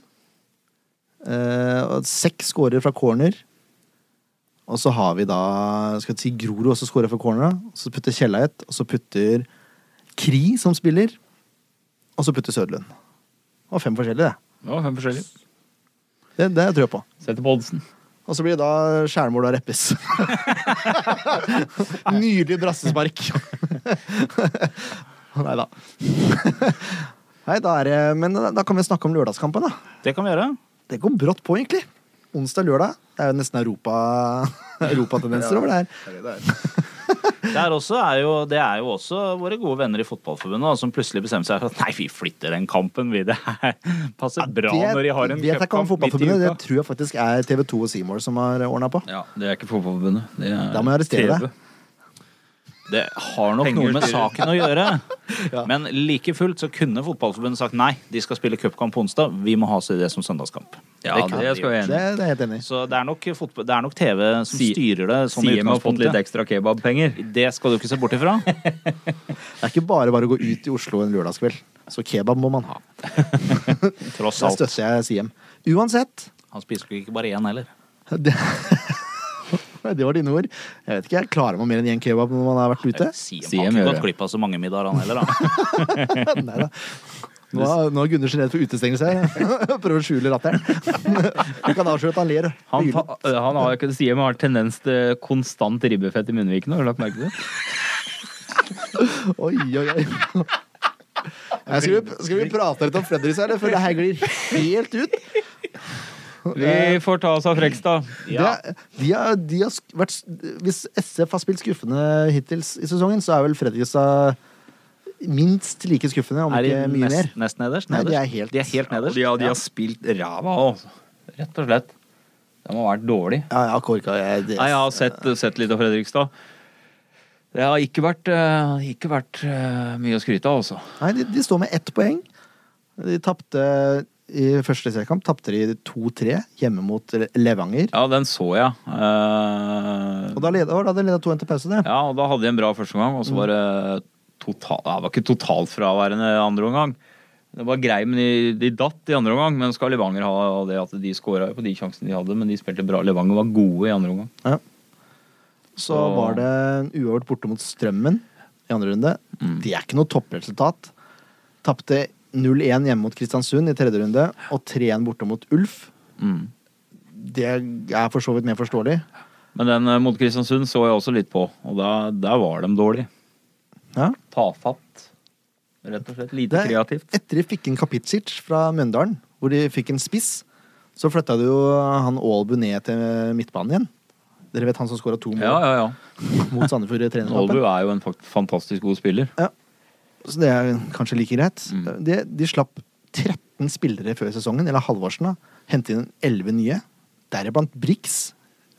S1: Eh, og Seks scorer fra corner. Og så har vi da skal vi si Grorud også scorer fra corner. da. Så putter Kjella et, og så putter Kri, som spiller. Og så putter Søderlund. Og fem forskjellige, det.
S5: Ja, fem forskjellige.
S1: Det, det tror jeg på.
S5: Setter på oddsen.
S1: Og så blir det da skjærmål av Reppes. Nydelig brassespark. Nei da. Nei, da er det Men da kan vi snakke om lørdagskampen, da.
S2: Det kan vi gjøre.
S1: Det går brått på, egentlig. Onsdag-lørdag. Det er jo nesten Europa- europatendenser over det her.
S4: Det er det det er.
S2: Der også er jo, det er jo også våre gode venner i Fotballforbundet da, som plutselig bestemmer seg for at nei, vi flytter den kampen, vi. Det her passer bra når de har en
S1: vet jeg ikke om
S2: cupkamp midt i
S1: Fotballforbundet. Det
S2: uka.
S1: tror jeg faktisk er TV2 og Seymour som har ordna på.
S5: Ja, det er ikke Fotballforbundet. Det er
S1: Da må jeg arrestere
S5: TV.
S1: deg.
S2: Det har nok noe med saken å gjøre. Men like fullt så kunne Fotballforbundet sagt nei, de skal spille cupkamp på onsdag, vi må ha det som søndagskamp.
S5: Ja,
S2: Det kan
S5: det
S2: de
S5: skal jeg
S1: Det, det
S5: enig i.
S1: er jeg helt enig i.
S2: Så det er nok, fotball, det er nok TV som
S5: Si-
S2: styrer det sånn i
S5: Siem har fått litt
S2: utgangspunktet.
S5: ekstra kebabpenger.
S2: Det skal du ikke se bort ifra.
S1: Det er ikke bare bare å gå ut i Oslo en lørdagskveld. Så kebab må man ha.
S2: Tross
S1: Da
S2: alt.
S1: støtter jeg Siem. Uansett
S2: Han spiser jo ikke bare én heller.
S1: det, det var dine ord. Jeg vet ikke, jeg klarer man mer enn én kebab når man har vært ute?
S2: Siem
S5: Siem
S2: har ikke
S5: gjør
S2: gått
S5: det.
S2: glipp av så mange middager, han heller. Da.
S1: Neida. Nå er, nå er Gundersen redd for utestengelse her. Prøver å skjule latteren. Du kan avsløre at han ler.
S5: Han,
S1: hyler.
S5: fa- han har, ikke- Siem har tendens til konstant ribbefett i munnvikene. Har du lagt merke til det?
S1: Oi, oi, oi. Nei, Skal vi, skal vi prate litt om Fredrikstad, eller? For det her glir helt ut.
S5: Vi får ta oss av Frekstad.
S2: Ja.
S1: Det, de har, de har sk- vært, hvis SF har spilt skuffende hittils i sesongen, så er vel Fredrikstad minst like skuffende, om
S2: Er de
S1: ikke mye mer.
S2: nest, nest nederst?
S1: Nei, de
S2: Nederst?
S1: er helt-
S2: nederst.
S5: De har, de har spilt ræva altså. av, rett og slett. De har vært dårlig.
S1: Ja, ja, Korka, jeg, det,
S5: Nei, jeg har sett, sett litt av Fredrikstad. Det har ikke vært, eh, ikke vært eh, mye å skryte av, altså.
S1: Nei, de, de står med ett poeng. De tapte i første seriekamp tapte de 2-3 hjemme mot Levanger.
S5: Ja, den så jeg. Eh,
S1: Og da leda, da hadde de leda 2-1 til pause, det.
S5: ja, og da hadde de en bra første omgang, og så var det total, ja, det var ikke totalfraværende andre omgang. Det var grei, men de, de datt i andre omgang. Men skal Levanger ha det at de skåra på de sjansene de hadde, men de spilte bra. Levanger var gode i andre omgang.
S1: Så var det en uavgjort borte mot Strømmen i andre runde. Det er ikke noe toppresultat. Tapte 0-1 hjemme mot Kristiansund i tredje runde, og 3-1 borte mot Ulf.
S5: Mm.
S1: Det er for så vidt mer forståelig.
S5: Men den eh, mot Kristiansund så jeg også litt på, og da, der var de dårlige.
S1: Ja.
S5: Tafatt. Rett og slett. Lite
S1: Det-
S5: kreativt.
S1: Etter de fikk inn Kapitsic fra Mjøndalen, hvor de fikk en spiss, så flytta de jo han Aalbu ned til midtbanen igjen. Dere vet han som skåra to mål
S5: Ja, ja, ja.
S1: mot Sandefjord i
S5: Aalbu
S1: trenerkampen.
S5: er jo en fakt- fantastisk god spiller.
S1: Så det er kanskje like greit. De, de slapp 13 spillere før sesongen, eller Halvorsen, da. Hente inn 11 nye. Deriblant Brix,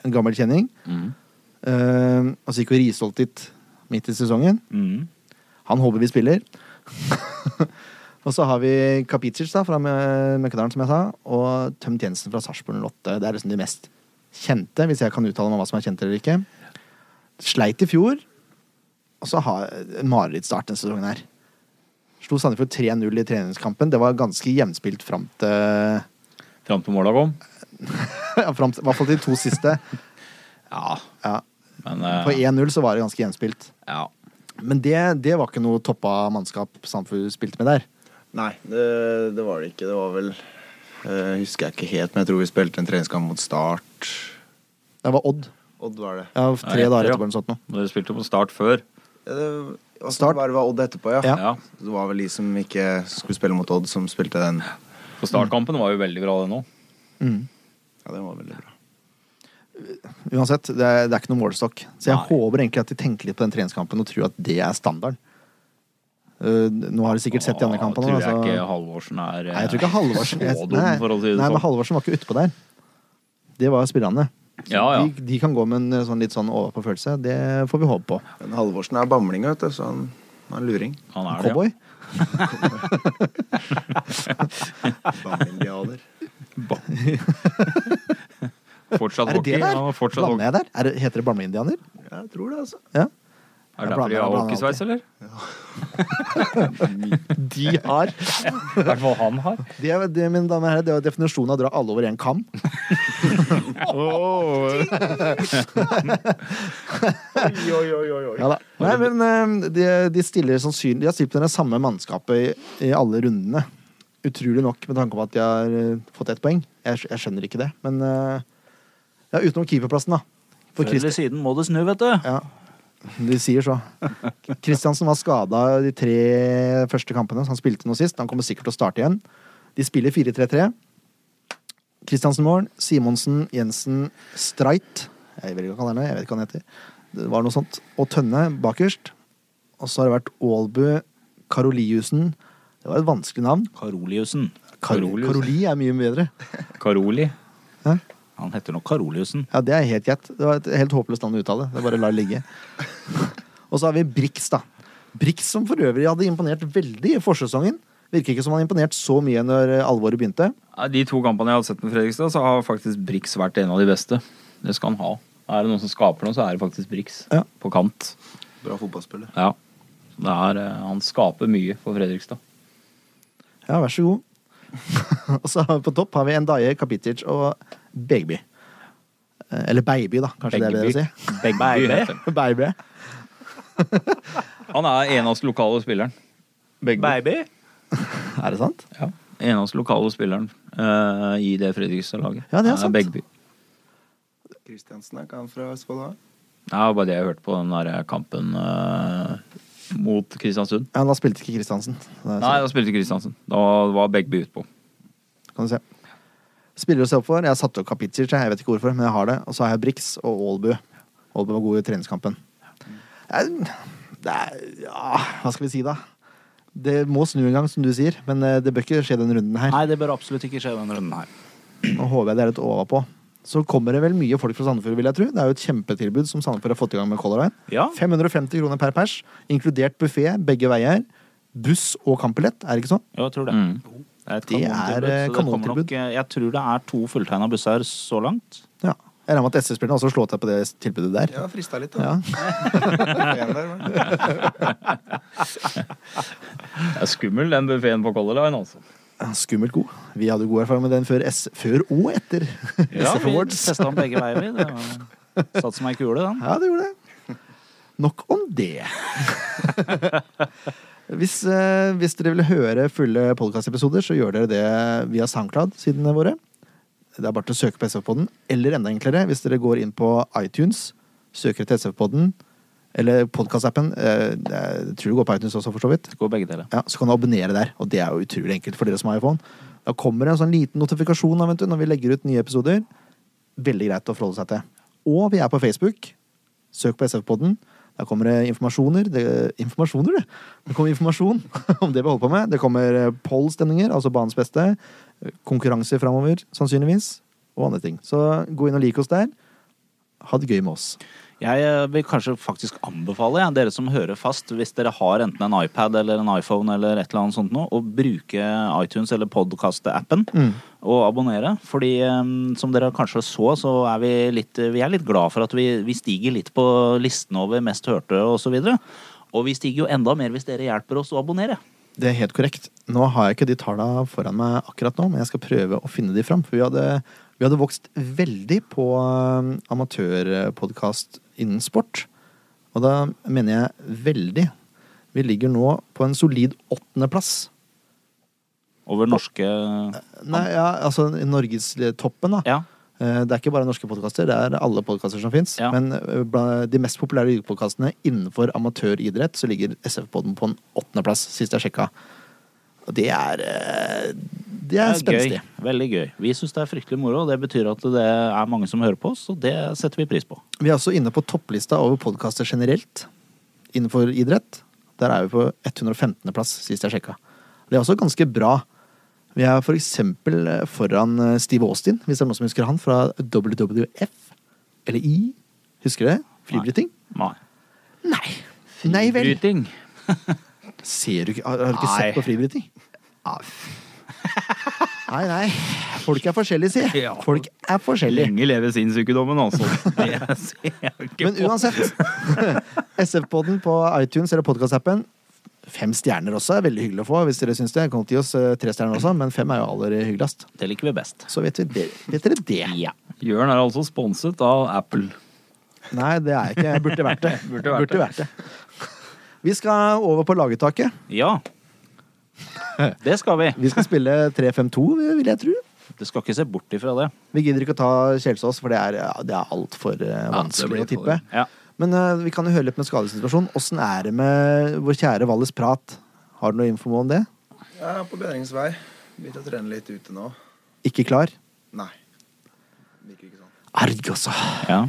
S1: en gammel kjenning. Eh, og så gikk jo Risholt dit midt i sesongen.
S2: Mm.
S1: Han håper vi spiller. og så har vi Kapicic da, fra Mø- Møkkadalen, som jeg sa, og Tømt Jensen fra Sarpsborg 08. Det er liksom de mest kjente, hvis jeg kan uttale meg om hva som er kjent eller ikke. Sleit i fjor, og så har en marerittstart denne sesongen her. Slo Sandefjord 3-0 i treningskampen. Det var ganske jevnspilt fram til
S5: Fram til måla kom.
S1: ja, fram til- I hvert fall til de to siste.
S5: Ja,
S1: Ja.
S5: men eh,
S1: På 1-0 så var det ganske jevnspilt.
S5: ja.
S1: Men det, det var ikke noe toppa mannskap Sandefjord spilte med der.
S4: Nei, det, det var det ikke. Det var vel eh, Husker jeg ikke helt, men jeg tror vi spilte en treningskamp mot Start.
S1: Det var Odd.
S4: Odd var det.
S1: Ja, tre
S5: etter,
S1: dager
S5: ja.
S1: etterpå eller noe sånt. nå.
S5: Dere spilte på start før.
S4: Ja, det og så
S1: Start.
S4: var det var Odd etterpå, ja.
S1: Ja.
S5: Ja.
S4: Det var vel de som ikke skulle spille mot Odd, som spilte den.
S5: For startkampen var jo veldig bra, den òg.
S4: Ja, den var veldig bra.
S1: Uansett, det er, det er ikke noen målestokk. Så jeg
S5: Nei.
S1: håper egentlig at de tenker litt på den treningskampen og tror at det er standarden. Eh, nå har de sikkert sett de andre kampene.
S5: Tror jeg
S1: altså.
S5: ikke Halvorsen er eh,
S1: Nei, jeg tror ikke Halvorsen
S5: så
S1: jeg-
S5: dum,
S1: nei,
S5: for å si det
S1: nei, men
S5: sånn.
S1: Halvorsen var ikke utpå der. Det var spillerne.
S5: Ja, ja.
S1: De, de kan gå med en eh, sånn litt sånn overpå-følelse. Det får vi håpe på.
S4: Men Halvorsen er bamling, vet du, så han, han er luring.
S5: Han er det. Altså,
S1: Cowboy?
S4: Bamlindianer.
S5: ja. Fortsatt
S1: Er det
S5: hockey.
S1: det der?
S5: Han var fortsatt
S1: Blander
S5: hockey.
S1: jeg der? Er det, heter det Bamleindianer?
S4: Ja, jeg tror det, altså.
S1: Ja.
S5: Er det
S1: Jeg blander-
S5: derfor de har
S1: blander
S5: hockeysveis, eller?
S1: De har
S5: I hvert fall han har.
S1: det, er- det, Mine damer og herrer, det er definisjonen av å dra alle over én kam. Ja da. Nei, men eh, de, de stiller sannsynlig De har stilt med det samme mannskapet i, i alle rundene. Utrolig nok, med tanke på at de har eh, fått ett poeng. Jeg, skj- jeg skjønner ikke det, men eh, Ja, utenom keeperplassen, da. For
S2: Før eller
S1: Christ
S2: siden må det snu, vet du.
S1: ja, de sier så. Kristiansen var skada de tre første kampene, så han spilte nå sist. Han kommer sikkert til å starte igjen. De spiller 4-3-3. Kristiansen mål, Simonsen, Jensen, Streit Jeg vet ikke hva han er nå, jeg vet ikke hva han heter. Det var noe sånt. Og Tønne bakerst. Og så har det vært Aalbu, Karoliussen Det var et vanskelig navn.
S2: Karoliussen.
S1: Kar
S5: Karolius.
S1: Karoli er mye bedre.
S5: Karoli.
S1: Hæ?
S2: Han heter nok Karoliussen.
S1: Ja, det er helt gjett. Det var et helt håpløst navn å uttale. Det er bare å la det ligge. Og så har vi Brix, da. Brix som for øvrig hadde imponert veldig i forsesongen. Virker ikke som han imponerte så mye når eh, alvoret begynte.
S5: Ja, De to kampene jeg har sett med Fredrikstad, så har faktisk Brix vært en av de beste. Det skal han ha. Er det noen som skaper noe, så er det faktisk Brix.
S1: Ja.
S5: På kant.
S4: Bra fotballspiller.
S5: Ja. Så Det er, eh, han skaper mye for Fredrikstad.
S1: Ja, vær så god. og så har vi på topp har vi Endaye, Kapitic og Begby. Eh, Eller Baby, da, kanskje det er bedre å si.
S5: Begby heter han.
S1: Baby.
S5: Han er eneste lokale spilleren. Begby.
S2: Baby.
S1: Er det sant?
S5: Ja. Eneste lokale spilleren eh, i det Fredrikstad-laget. Eh,
S1: Ja, det er sant.
S5: Begby.
S4: Kristiansen er ikke han fra Østfold? da?
S5: Det er bare det jeg hørte på den der kampen eh, mot Kristiansund.
S1: Ja, da spilte ikke Kristiansen. Da-
S5: Nei, da spilte Kristiansen. Da var Begby utpå.
S1: kan du se. Spiller å se opp for. Jeg har satt opp kapitler, jeg vet ikke hvorfor, men jeg har det. Og så har jeg Brix og Aalbu. Aalbu var god i treningskampen. Det er, det er Ja, hva skal vi si, da? Det må snu en gang, som du sier, men eh, det bør ikke skje denne runden her.
S2: Nei, det bør absolutt ikke skje denne runden her.
S1: Nå håper jeg det er litt overpå. Så kommer det vel mye folk fra Sandefjord, vil jeg tro. Det er jo et kjempetilbud som Sandefjord har fått i gang med Color Line.
S2: Ja.
S1: 550 kroner per pers, inkludert buffé begge veier. Buss og kampbillett, er det ikke sånn?
S2: Jo, jeg tror det. Det er, et
S1: Det er, eh,
S2: så det kommer
S1: kanontilbud.
S2: nok, eh, Jeg tror det er to fulltegna busser så langt.
S1: Ja. Jeg regner med at SS-spillerne også slår til på det tilbudet der.
S4: Ja, frista litt,
S1: Ja.
S4: da. En der, men.
S5: Det er skummel, den buffeen på Color Line, altså.
S1: Skummelt god. Vi hadde god erfaring med den før, S før og etter
S2: Ja,
S1: SF
S2: vi
S1: Awards.
S2: testa den begge veier, vi. Det var- Satt som ei kule, den.
S1: Ja, det gjorde det. Nok om det. hvis, eh, hvis dere vil høre fulle podkastepisoder, så gjør dere det via SoundCloud-sidene våre. Det er bare til å søke på SF-podden. Eller enda enklere, hvis dere går inn på iTunes, søker etter SF-podden, eller podkastappen. Eh, det er- jeg tror det går på iTunes også, for så vidt.
S2: Det går begge deler.
S1: Ja, så kan du abonnere der, og det er jo utrolig enkelt for dere som har iPhone. Da kommer det en sånn liten notifikasjon da, vet du, når vi legger ut nye episoder. Veldig greit å forholde seg til. Og vi er på Facebook. Søk på SF-podden. Der kommer det informasjoner. Det, informasjoner, det! Det kommer informasjon om det vi holder på med. Det kommer eh, poll-stemninger, altså banens beste. Konkurranser framover, sannsynligvis. Og andre ting. Så gå inn og lik oss der. Ha det gøy med oss.
S2: Jeg eh, vil kanskje faktisk anbefale ja, dere som hører fast, hvis dere har enten en iPad eller en iPhone eller et eller annet sånt noe, å bruke iTunes eller podkastappen
S1: Mm.
S2: og abonnere. Fordi eh, som dere kanskje så, så er vi litt, vi er litt glad for at vi, vi stiger litt på listen over mest hørte og så videre. Og vi stiger jo enda mer hvis dere hjelper oss å abonnere.
S1: Det er helt korrekt. Nå har jeg ikke de tallene foran meg akkurat nå, men jeg skal prøve å finne de fram. For vi hadde, vi hadde vokst veldig på um, amatørpodkast innen sport. Og da mener jeg veldig. Vi ligger nå på en solid åttendeplass.
S2: Over norske
S1: Nei, ja, altså i norgestoppen, da.
S2: Ja.
S1: Eh, Det er ikke bare norske podkaster, det er alle podkaster som fins.
S2: Ja.
S1: Men eh, blant de mest populære podkastene innenfor amatøridrett, så ligger SF-podden på en åttendeplass, sist jeg sjekka. Og det er eh, Det er,
S2: Det er
S1: spenstig.
S2: gøy. Veldig gøy. Vi syns det er fryktelig moro, og det betyr at det er mange som hører på oss, og det setter vi pris på.
S1: Vi er også inne på topplista over podkaster generelt innenfor idrett. Der er vi på 115.-plass, sist jeg sjekka. Det er også ganske bra. Vi er for eksempel eh, foran eh, Steve Austin, hvis det er noen som husker han, fra WWF. Eller I. Husker du det? Flybryting?
S5: Nei.
S1: Nei. Nei vel.
S5: Bryting.
S1: Ser du ikke Har, har du ikke
S5: Nei.
S1: sett på fribryting? Nei, nei. Folk er forskjellige, si.
S5: Ja.
S1: Folk er forskjellige.
S5: Lenge leve sinnssjukedommen, altså. Det ser jeg ikke
S1: Men uansett. SF-podden på iTunes eller podkastappen. Fem stjerner også er veldig hyggelig å få. hvis dere synes det. Kom til oss eh, tre stjerner også, men fem er jo aller hyggeligst.
S2: Det liker vi best.
S1: Så vet, vi det, vet dere det.
S2: Ja.
S5: Jørn er altså sponset av Apple.
S1: Nei, det er jeg ikke. Jeg burde vært det.
S5: Burde vært det.
S1: Vi skal over på laguttaket.
S2: Ja. Det skal vi.
S1: Vi skal spille 3-5-2, vil jeg tro.
S2: Du skal ikke se bort ifra det.
S1: Vi gidder ikke å ta Kjelsås, for det er, ja, det er altfor vanskelig
S5: blir
S1: å tippe.
S5: for-
S2: Ja.
S1: Men eh, vi kan jo høre litt med skadesituasjonen. Åssen er det med vår kjære Valles prat? Har du noe info om det?
S4: Jeg er på bedringens vei. Begynte å trene litt ute nå.
S1: Ikke klar?
S4: Nei. Virker ikke sånn.
S1: Arg, altså.
S2: ja.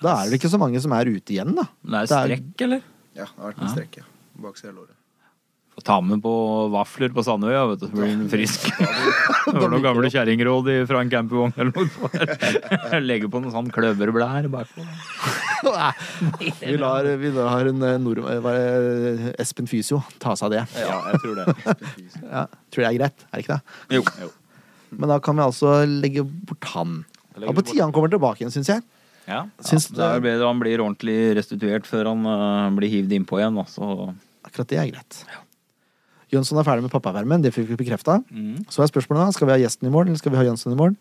S1: Da er det ikke så mange som er ute igjen, da.
S5: Men det er
S1: Det er-
S5: strekk, eller?
S4: Ja, det har vært en strekk, ja. Bak låret.
S5: Få ta med på vafler på Sandøya, vet du, så blir den frisk. Det var noen gamle kjerringråd i- fra en campingvogn eller noe. sånt. Legge på noen sånn kløverblær bakpå.
S1: Vi lar, vi lar en eh, nord, eh, hva er det, Espen Fysio ta seg av det.
S2: Ja, jeg tror det.
S1: Ja, tror det er greit, er det ikke det?
S2: Jo. jo.
S1: Men da kan vi altså legge bort han. Ja,
S2: legger vi
S1: på
S2: bort.
S1: tide han kommer tilbake igjen, syns jeg.
S2: Ja.
S1: Syns
S5: Så der blir det, han blir ordentlig restituert før han eh, blir hivd innpå igjen. Da. Så
S1: Akkurat det er greit. Jønsson er ferdig med pappavermen, det fikk vi bekrefta.
S2: Mm.
S1: Så er spørsmålet da, skal vi ha gjesten i morgen, eller skal vi ha Jønsson i morgen?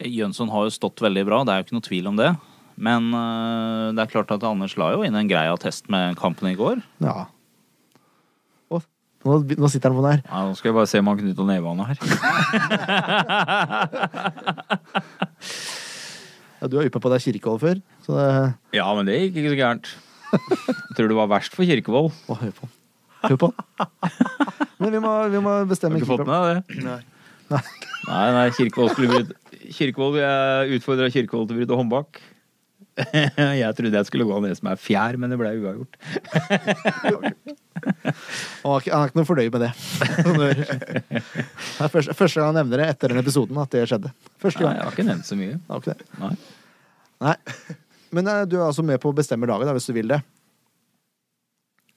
S2: Jønsson har jo stått veldig bra, det er jo ikke noe tvil om det. Men
S5: eh,
S2: øh, det er klart at Anders la jo inn en grei attest med kampen i går.
S1: Ja. Å, nå, nå sitter han på den her.
S5: Nei, nå skal jeg bare se om han knytter nevene her.
S1: Ja, du har uppa på deg Kirkehold før, så det
S5: Ja, men det gikk ikke så gærent. Jeg tror det var verst for Kirkevold.
S1: Å, hør på han. Hør på han. Men vi må, vi må
S5: Har
S1: bestemme
S5: du ikke fått med deg det?
S1: Nei.
S5: Nei, nei, Kirkevold skulle bryte Kirkevold, Jeg utfordra Kirkevold til å bryte håndbak. Jeg trodde jeg skulle gå ned som er fjær, men det ble uavgjort.
S1: Han er ikke, han er ikke noe fornøyd med det. Sånn Det er første, første gang han nevner det etter den episoden at det skjedde. Første
S5: Nei,
S1: gang.
S5: jeg har ikke nevnt så mye.
S1: Det var ikke det.
S5: Nei.
S1: Nei. Men eh, du er altså med på å bestemme dagen, da, hvis du vil det.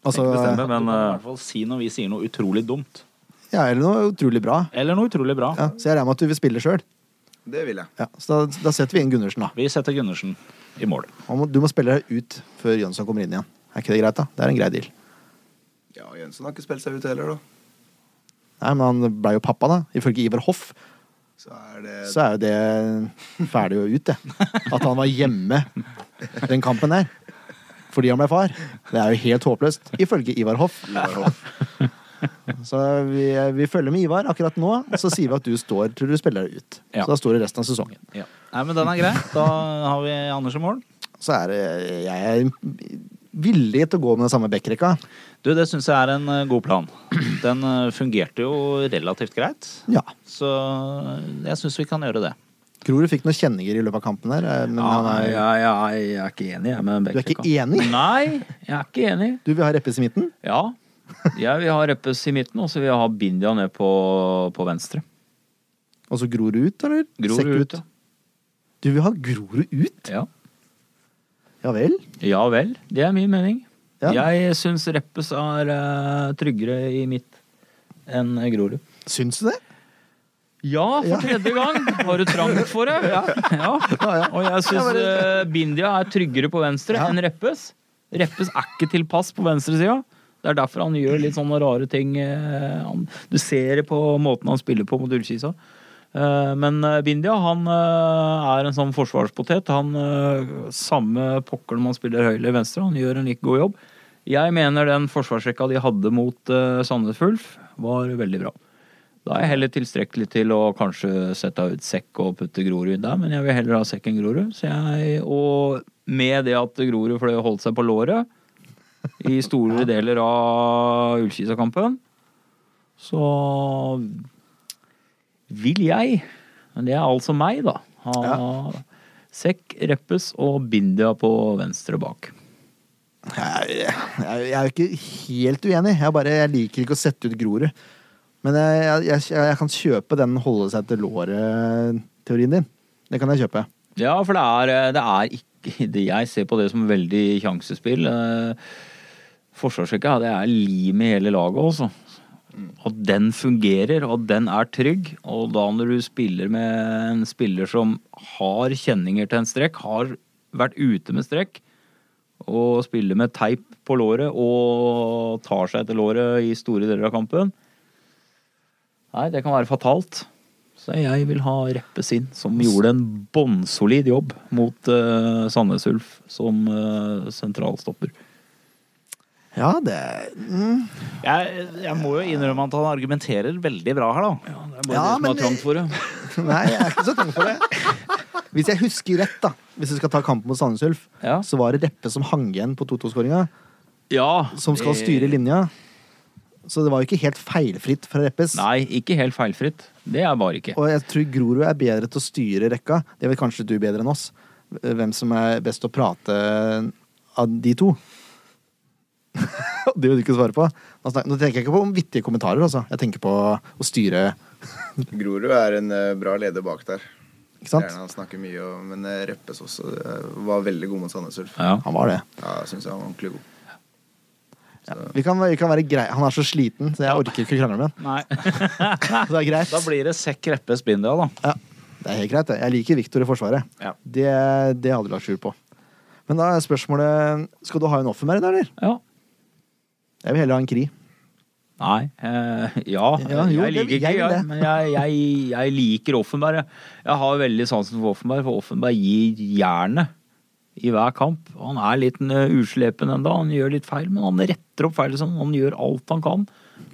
S1: Altså,
S5: Ikke
S2: Men,
S5: bestemme,
S2: du
S5: men
S2: kan i
S5: eh,
S2: hvert fall si når vi sier noe utrolig dumt.
S1: ja, eller noe utrolig bra.
S2: Eller noe utrolig bra.
S1: Ja, så jeg regner med at du vil spille sjøl.
S4: Det vil jeg.
S1: Ja, så da, da setter vi inn Gundersen, da.
S2: Vi setter Gundersen i mål.
S1: Han må- Du må spille deg ut før Jønsson kommer inn igjen. Er ikke det greit, da? Det er en grei deal.
S4: Ja, Jønsson har ikke spilt seg ut heller, da.
S1: Nei, men han blei jo pappa, da. Ifølge Ivar Hoff
S4: Så er det
S1: så er jo det ferdig og ut, det. At han var hjemme den kampen der. Fordi han ble far. Det er jo helt håpløst, ifølge Ivar Hoff. Så vi, vi følger med Ivar akkurat nå, og så sier vi at du står til du spiller deg ut.
S2: Ja.
S1: Så da står du resten av sesongen.
S2: Ja. Nei, men den er grei. Da har vi Anders i mål.
S1: Så er det Jeg er villig til å gå med den samme backrekka.
S2: Du, det syns jeg er en eh, god plan. Den eh, fungerte jo relativt greit,
S1: Ja.
S2: så eh, jeg syns vi kan gjøre det.
S1: Tror du fikk noen kjenninger i løpet av kampen der, eh, men
S5: ja,
S1: han
S5: nei,
S1: er,
S5: jeg, jeg, jeg er ikke enig, jeg,
S1: du
S5: med
S1: er ikke
S5: Bekkrekka.
S1: enig?
S5: Nei, jeg er ikke enig.
S1: Du vil ha Reppes i midten?
S5: Ja. Jeg vil ha Reppes i midten, og så vil jeg ha Bindia ned på, på venstre.
S1: Og så Grorud ut, eller?
S5: Grorud
S1: Sekk
S5: ut, ja.
S1: Du vil ha Grorud ut?
S5: Ja.
S1: Ja vel?
S5: Ja vel, det er min mening.
S1: Ja.
S5: Jeg syns Reppes er eh, tryggere i mitt enn Grorud.
S1: Syns du det?
S5: Ja, for tredje gang! Har du trangt for det? Ja.
S1: ja.
S5: Og jeg syns Bindia er tryggere på venstre
S1: Ja.
S5: enn Reppes. Reppes er ikke tilpass på venstresida. Det er derfor han gjør litt sånne rare ting. eh, han- Du ser det på måten han spiller på mot Ullkisa. Eh, Men eh, Bindia han eh, er en sånn forsvarspotet. Han eh, Samme pokker om han spiller høyre eller venstre, han gjør en like god jobb. Jeg mener den forsvarsrekka de hadde mot eh, Sandnes Ulf, var veldig bra. Da er jeg heller tilstrekkelig til å kanskje sette ut sekk og putte Grorud der, men jeg vil heller ha sekk enn Grorud. Så jeg, og med det at Grorud fløy og holdt seg på låret i store deler av Ullkisa-kampen, så vil jeg, men det er altså meg, da, ha sekk, reppes og bindia på venstre bak.
S1: Jeg, jeg, jeg er jo ikke helt uenig. Jeg, bare, jeg liker ikke å sette ut Grorud. Men jeg, jeg, jeg, jeg kan kjøpe den holde seg til låret-teorien din. Det kan jeg kjøpe.
S5: Ja, for det er, eh, det er ikke det Jeg ser på det som veldig sjansespill. Eh, Forsvarsrekka, det er limet i hele laget, altså. At den fungerer, og at den er trygg. Og da når du spiller med en spiller som har kjenninger til en strekk, har vært ute med strekk, og spiller med teip på låret og tar seg etter låret i store deler av kampen Nei, det kan være fatalt. Så jeg vil ha Reppes inn, som gjorde en bånnsolid jobb mot eh, Sandnes Ulf som eh, sentralstopper.
S1: Ja, det mm.
S2: Jeg, jeg må jo innrømme at han argumenterer veldig bra her, da.
S5: Det er
S1: bare Ja, det som men- har trangt
S5: for det.
S1: Nei, jeg er ikke så tung for det. Hvis jeg husker rett, da hvis vi skal ta kampen mot Sandnes Ulf,
S5: Ja.
S1: så var det Reppe som hang igjen på 2-2-skåringa,
S5: Ja, Eh,
S1: som skal styre linja. Så det var jo ikke helt feilfritt fra Reppes.
S5: Nei, ikke helt feilfritt. Det er bare ikke.
S1: Og jeg tror Grorud er bedre til å styre rekka. Det vet kanskje du bedre enn oss. hvem som er best å prate av de to. det vil du ikke svare på. Nå snak- nå tenker jeg ikke på om vittige kommentarer, altså. Jeg tenker på å styre,
S4: Grorud er en eh, bra leder bak der.
S1: ikke
S4: Gjerne
S1: sant?
S4: Han snakker mye, og, men eh, Reppes også eh, var veldig god mot Sandnes Ulf.
S5: Ja.
S1: Han var det.
S4: Ja, jeg syns han var ordentlig god.
S1: Vi kan, vi kan være grei. Han er så sliten, så jeg orker ikke å krangle med han.
S2: Nei.
S1: Så det er greit.
S2: Da blir det Sekk Reppe Spindal, da.
S1: Ja, det er helt greit. det. Jeg liker Viktor i Forsvaret.
S2: Ja.
S1: Det, det hadde du lagt skjul på. Men da er spørsmålet Skal du ha en offermerd, eller?
S5: ja.
S1: Jeg vil heller ha en kri.
S5: Nei. Eh, ja,
S1: Ja, jo, det-
S5: jeg liker
S1: jeg
S5: ikke
S1: vil
S5: jeg,
S1: det.
S5: men jeg, jeg, jeg liker Offenberg. jeg. Jeg har veldig sansen for Offenberg, for Offenberg gir jernet i hver kamp. Han er litt eh, uslepen enda, han gjør litt feil, men han retter opp feil. Liksom. Han gjør alt han kan.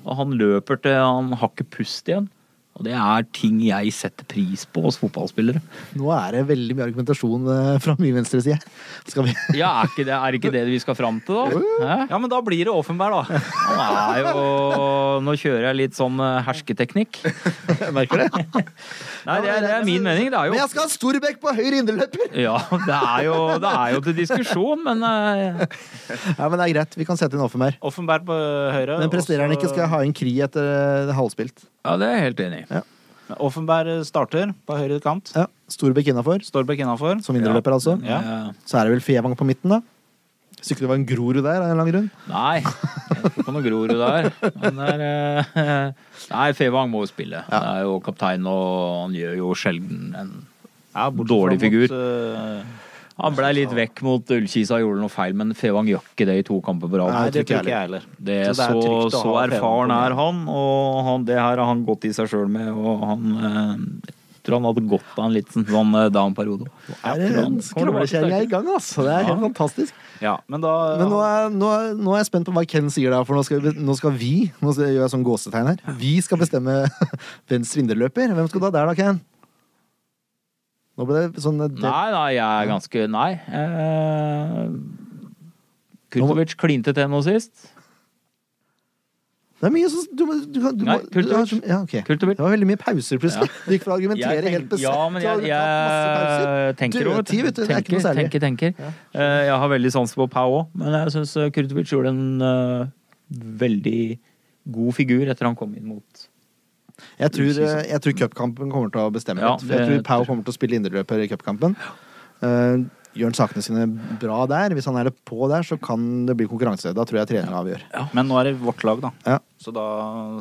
S5: Og han løper til han har ikke pust igjen. Og det er ting jeg setter pris på hos fotballspillere.
S1: Nå er det veldig mye argumentasjon eh, fra min venstre side. Skal vi
S5: Ja, er ikke det er ikke det vi skal fram til, da? Hæ?
S2: Ja, men da blir det Offenberg, da.
S5: Han er jo Nå kjører jeg litt sånn eh, hersketeknikk.
S1: Jeg merker det.
S5: Nei, det er, det er min mening. Det er jo
S1: Men jeg skal ha Storbekk på høyre indreløper!
S5: Ja, det er jo, det er jo til diskusjon, men eh,
S1: Ja, men det er greit. Vi kan sette inn offermerd.
S2: Offenberg på høyre.
S1: Men presterer han
S2: og så-
S1: ikke, skal jeg ha en kri etter eh, halvspilt.
S5: Ja, det er jeg helt enig i.
S2: Offenberg starter på høyre kant.
S1: Ja. Storbekk innafor,
S2: Storbekk innafor.
S1: som indreløper, altså.
S2: Ja.
S5: Eh,
S1: Så er det vel Fevang på midten, da. Hvis ikke det var en Grorud der, av en eller annen grunn.
S5: Nei, jeg tror på noe Grorud der. Men det er, eh, nei, Fevang må jo spille. Det er jo kaptein, og han gjør jo sjelden en
S2: Ja, bortsett
S5: Dårlig
S2: fra
S5: figur.
S2: Mot, eh,
S5: Han blei litt vekk mot Ullkisa og gjorde noe feil, men Fevang gjør ikke det i to kamper på
S2: nei,
S5: rad.
S2: det tror ikke jeg heller. Så
S5: Det er
S2: det er
S5: så,
S2: trygt å
S5: så
S2: ha
S5: erfaren
S2: Fevang på
S5: er han, og han, det her har han gått i seg sjøl med. Og han eh, jeg tror han hadde gått av en liten sånn eh, down-periode.
S1: Er det en skrålekjerringa i gang, altså. Det er helt fantastisk.
S2: Ja, men da
S1: Men nå er, nå, er, nå er jeg spent på hva Ken sier, da, for nå skal, vi- nå skal vi Nå skal- gjør jeg sånn gåsetegn her. Vi skal bestemme hvem svinderløper. Hvem skal du ha der, da, Ken? Nå ble det sånn eh, det,
S5: Nei, nei, jeg er ganske Nei. Eh, Kurtovic klinte til nå sist.
S1: det er mye sånn du, må- du, kan- du,
S5: Nei,
S1: må- du, har så- ja, ok.
S5: Kultovic.
S1: Det var veldig mye pauser, plutselig. Du gikk fra å argumentere
S5: Jeg
S1: helt
S5: tenk-
S1: besatt
S5: ja, men jeg,
S1: til å ha masse pauser.
S5: jeg tenker over
S1: Dødtid, vet du, det er ikke
S5: Tenker,
S1: noe særlig.
S5: tenker. tenker. Eh, jeg har veldig sans for Pau òg, men jeg syns Kurtovic gjorde en eh, veldig god figur etter han kom inn mot
S1: Jeg tror, eh, jeg tror cupkampen kommer til å bestemme
S5: Ja,
S1: litt. For jeg tror
S5: det-
S1: Pau kommer til å spille indreløper i cupkampen. Eh, gjør han sakene sine bra der, hvis han er det på der, så kan det bli konkurranse. Da tror jeg treneren avgjør.
S2: Men nå er det vårt lag, da.
S1: Ja.
S2: Så da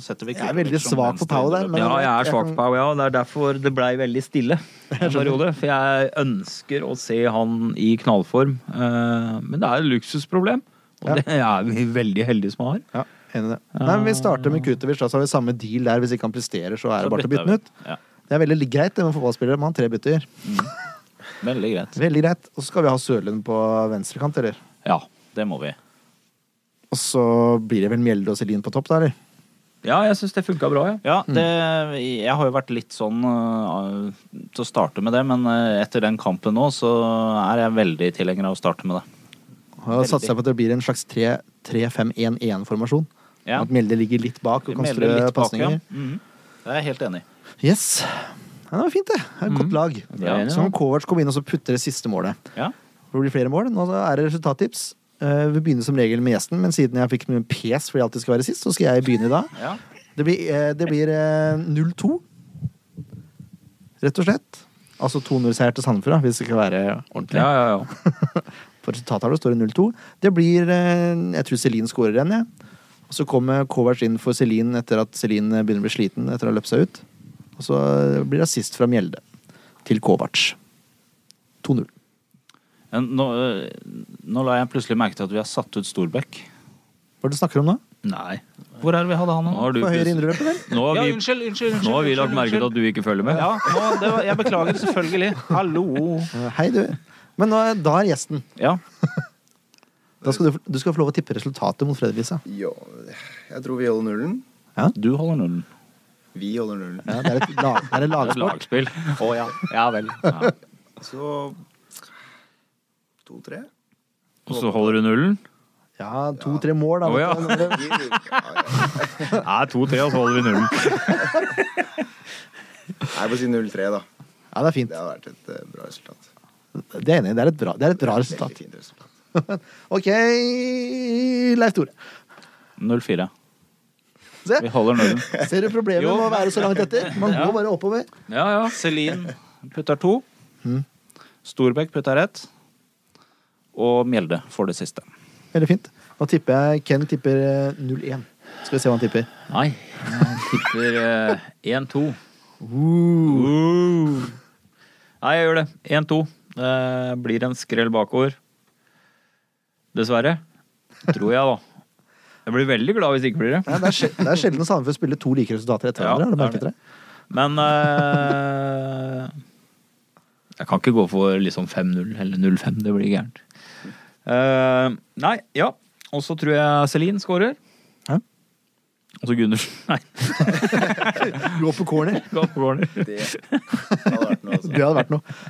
S2: setter vi
S1: Jeg er
S2: Kurtovic
S1: veldig
S2: som
S1: svak på
S2: venstre
S1: Pau der,
S2: indreløper.
S1: men-
S5: Ja, jeg er
S1: jeg
S5: svak
S1: kan-
S5: på Pau, ja. Det er derfor det blei veldig stille. en periode, For jeg ønsker å se han i knallform. Eh, Men det er et luksusproblem.
S1: Ja.
S5: Og det er vi veldig heldige som har.
S1: Ja, enig i det. Nei, men Vi starter med Kutovic, da, så har vi samme deal der. Hvis ikke han presterer, så er
S2: Så
S1: det bare til å
S2: bytter
S1: bytte den ut.
S2: vi. Ja,
S1: Det er veldig greit det med fotballspillere. Man har tre bytter.
S2: veldig greit.
S1: Veldig greit. Og så skal vi ha Sørlund på venstrekant, eller?
S5: Ja.
S2: Det må vi.
S1: Og så blir det vel Mjelde og Selin på topp, da, eller?
S5: Ja, jeg syns det funka bra, ja.
S2: Ja, det, jeg har jo vært litt sånn øh, til å starte med det, men øh, etter den kampen nå, så er jeg veldig tilhenger av å starte med det.
S1: Og satser jeg på at det blir en slags 3-5-1-1-formasjon.
S2: Ja.
S1: At Mjelde ligger litt bak og kan
S2: Melder
S1: strø
S2: litt bak, ja.
S1: pasninger.
S2: Mhm. Det er jeg helt enig i.
S1: Yes. Ja, det var fint, det. Det er Et godt lag.
S5: er jeg enig i,
S1: Så kan Kovac komme inn og så putte det siste målet.
S2: Ja.
S1: Det blir flere mål. Nå er det resultattips. Eh, Vi begynner som regel med gjesten, men siden jeg fikk mye pes fordi jeg alltid skal være sist, så skal jeg begynne i dag.
S2: Ja.
S1: Det blir, eh, det blir eh, 0-2. Rett og slett. Altså 2-0-seier til Sandefjord, da, hvis det skal være ordentlig.
S5: Ja, ja, ja.
S1: For resultattavla står det 0-2. Det blir eh, Jeg tror Celine skårer en, jeg. Og så kommer Kovac inn for Celine etter at Celine begynner å bli sliten etter å ha løpt seg ut. Og så eh, blir det assist fra Mjelde til Kovac. 2-0.
S2: Men Nå, øh, nå la jeg plutselig merke til at vi har satt ut Storbekk.
S1: Hva er det du snakker om nå?
S5: Nei.
S2: Hvor er det vi hadde han?
S5: Nå
S2: nå?
S5: har du
S1: På høyre
S5: plutselig-
S1: indreløper, vel?
S5: Nå har
S2: Ja,
S5: vi,
S2: unnskyld, unnskyld. unnskyld
S5: nå har vi
S2: unnskyld,
S5: lagt merke til at du ikke følger med.
S2: Ja, nå, det var, jeg beklager selvfølgelig. Hallo.
S1: Eh, Hei, du. Men nå, er- da er gjesten.
S2: Ja,
S1: Da skal du, du skal få lov å tippe resultatet mot Fredrikstad.
S4: Ja, jeg tror vi holder nullen.
S2: du holder nullen.
S4: Vi holder nullen.
S1: Ja, det er et, lag, det er et
S5: Det er et
S1: lagsport.
S5: lagspill. Å ja. Ja vel. Ja.
S4: Så to-tre.
S5: Og så holder du nullen?
S1: Ja, to-tre mål, da.
S5: Å, ja.
S1: vet du.
S4: Ja, ja.
S5: Nei, to-tre, og så holder vi nullen.
S4: Jeg får si 0-3, da.
S1: ja, det er fint.
S4: Det hadde vært et eh, bra resultat.
S1: Det er jeg enig i. Det er et bra, det er et bra resultat.
S4: Fint resultat.
S1: OK, Leif Tore.
S2: 0-4.
S1: Se,
S2: Vi holder nullen.
S1: ser du problemet med å være så langt etter? Man går bare oppover.
S5: Ja, ja.
S2: Celine putter to.
S5: Mm.
S2: Storbekk putter ett. Og Mjelde får det siste.
S1: Veldig fint. Nå tipper jeg Ken tipper eh, 0-1. Skal vi se hva han tipper.
S5: Nei, jeg tipper eh, 1-2. Uh. Nei, jeg gjør det. 1-2. Det blir en skrell bakover. Dessverre. Tror jeg, da. Jeg blir veldig glad hvis det ikke blir det.
S1: Nei, det, er sjel- det er sjelden Sandefjord spiller to like resultater etter
S5: Ja,
S1: hverandre. har du
S5: det er
S1: merket
S5: det.
S1: det?
S5: Men eh, Jeg kan ikke gå for liksom 5-0 eller 0-5. Det blir gærent. Eh, nei, ja. Og så tror jeg Celine scorer.
S1: Ja.
S5: Og så Gundersen. Nei,
S1: Gå på corner.
S5: Gav Warner.
S4: Det hadde vært noe,
S1: Det
S4: altså.
S1: hadde vært noe.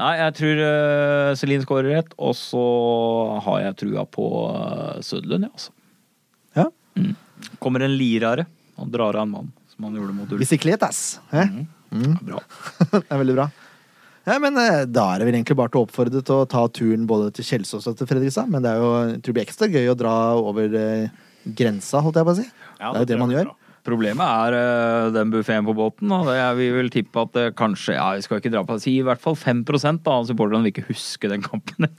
S5: Nei, jeg tror eh, Celine skårer rett, og så har jeg trua på uh, Sødlund, ja, altså.
S1: Ja.
S5: Mm. Kommer en lirare og drar av en mann, som han gjorde mot Ulf.
S1: Bisiklet, ass. Hæ?
S5: Bra.
S1: Det er veldig bra. Ja, men eh, Da er det vel egentlig bare til å oppfordre til å ta turen både til Kjelsås og til Fredrikstad. Men det er jo jeg tror det blir ekstra gøy å dra over eh, grensa, holdt jeg på å si. det
S2: Ja,
S1: er jo
S2: det
S1: det man
S2: tror jeg
S1: gjør.
S2: bra.
S5: Problemet er eh, den buffeen på båten, og det er, vi vil tippe at det kanskje Ja, vi skal ikke dra på Si i hvert fall 5 da, av supporterne vil ikke huske den kampen.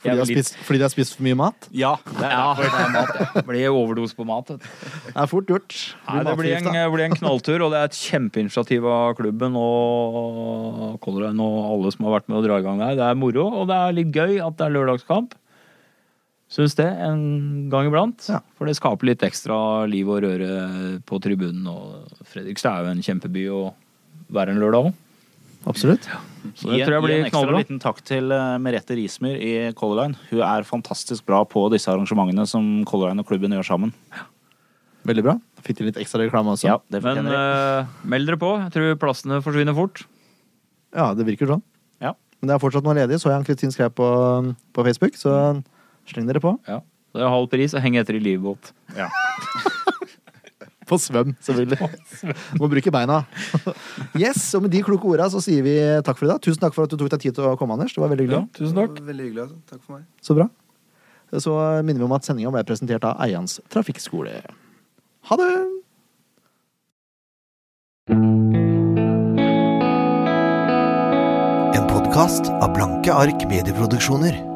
S1: Fordi de, har
S5: Jeg blir-
S1: spist, fordi de har spist for mye mat.
S2: Ja, det er
S5: Ja,
S2: derfor.
S5: det er mat, ja. Blir overdose på mat, vet du.
S1: Det er fort gjort.
S5: Nei, det blir en,
S1: matforgift, da.
S5: blir en knalltur, og det er et kjempeinitiativ av klubben og Colorado og alle som har vært med å dra i gang der. Det er moro, og det er litt gøy at det er lørdagskamp. Syns det, en gang iblant.
S1: Ja.
S5: For det skaper litt ekstra liv og røre på tribunen. Og Fredrikstad er jo en kjempeby å være en lørdag òg.
S1: Absolutt.
S5: Så det
S2: Gi-
S5: tror jeg
S2: gi
S5: blir
S2: en ekstra
S5: knallbra.
S2: liten takk til eh, Merete Rismyr i Color Line. Hun er fantastisk bra på disse arrangementene som Color Line og klubben gjør sammen.
S1: Veldig bra. Fikk til litt ekstra reklame også.
S2: Ja, det
S5: Men
S2: fortjener de.
S5: eh, meld dere på. Jeg tror plassene forsvinner fort.
S1: Ja, det virker sånn.
S2: Ja.
S1: Men det er fortsatt noe ledig, så jeg Ann-Kristin skrev på, um, på Facebook, så sleng dere på.
S5: Ja. Det er halv pris og heng etter i livbåt.
S1: På svøm, selvfølgelig. Må bruke beina. Yes, og med de kloke orda så sier vi takk for i dag. Tusen takk for at du tok deg tid til å komme, Anders. Det var veldig hyggelig.
S5: tusen takk.
S4: Veldig hyggelig. Altså. Takk for meg.
S1: Så bra. Så minner vi om at sendinga ble presentert av Eians trafikkskole. Ha det!
S8: En podkast av Blanke ark medieproduksjoner.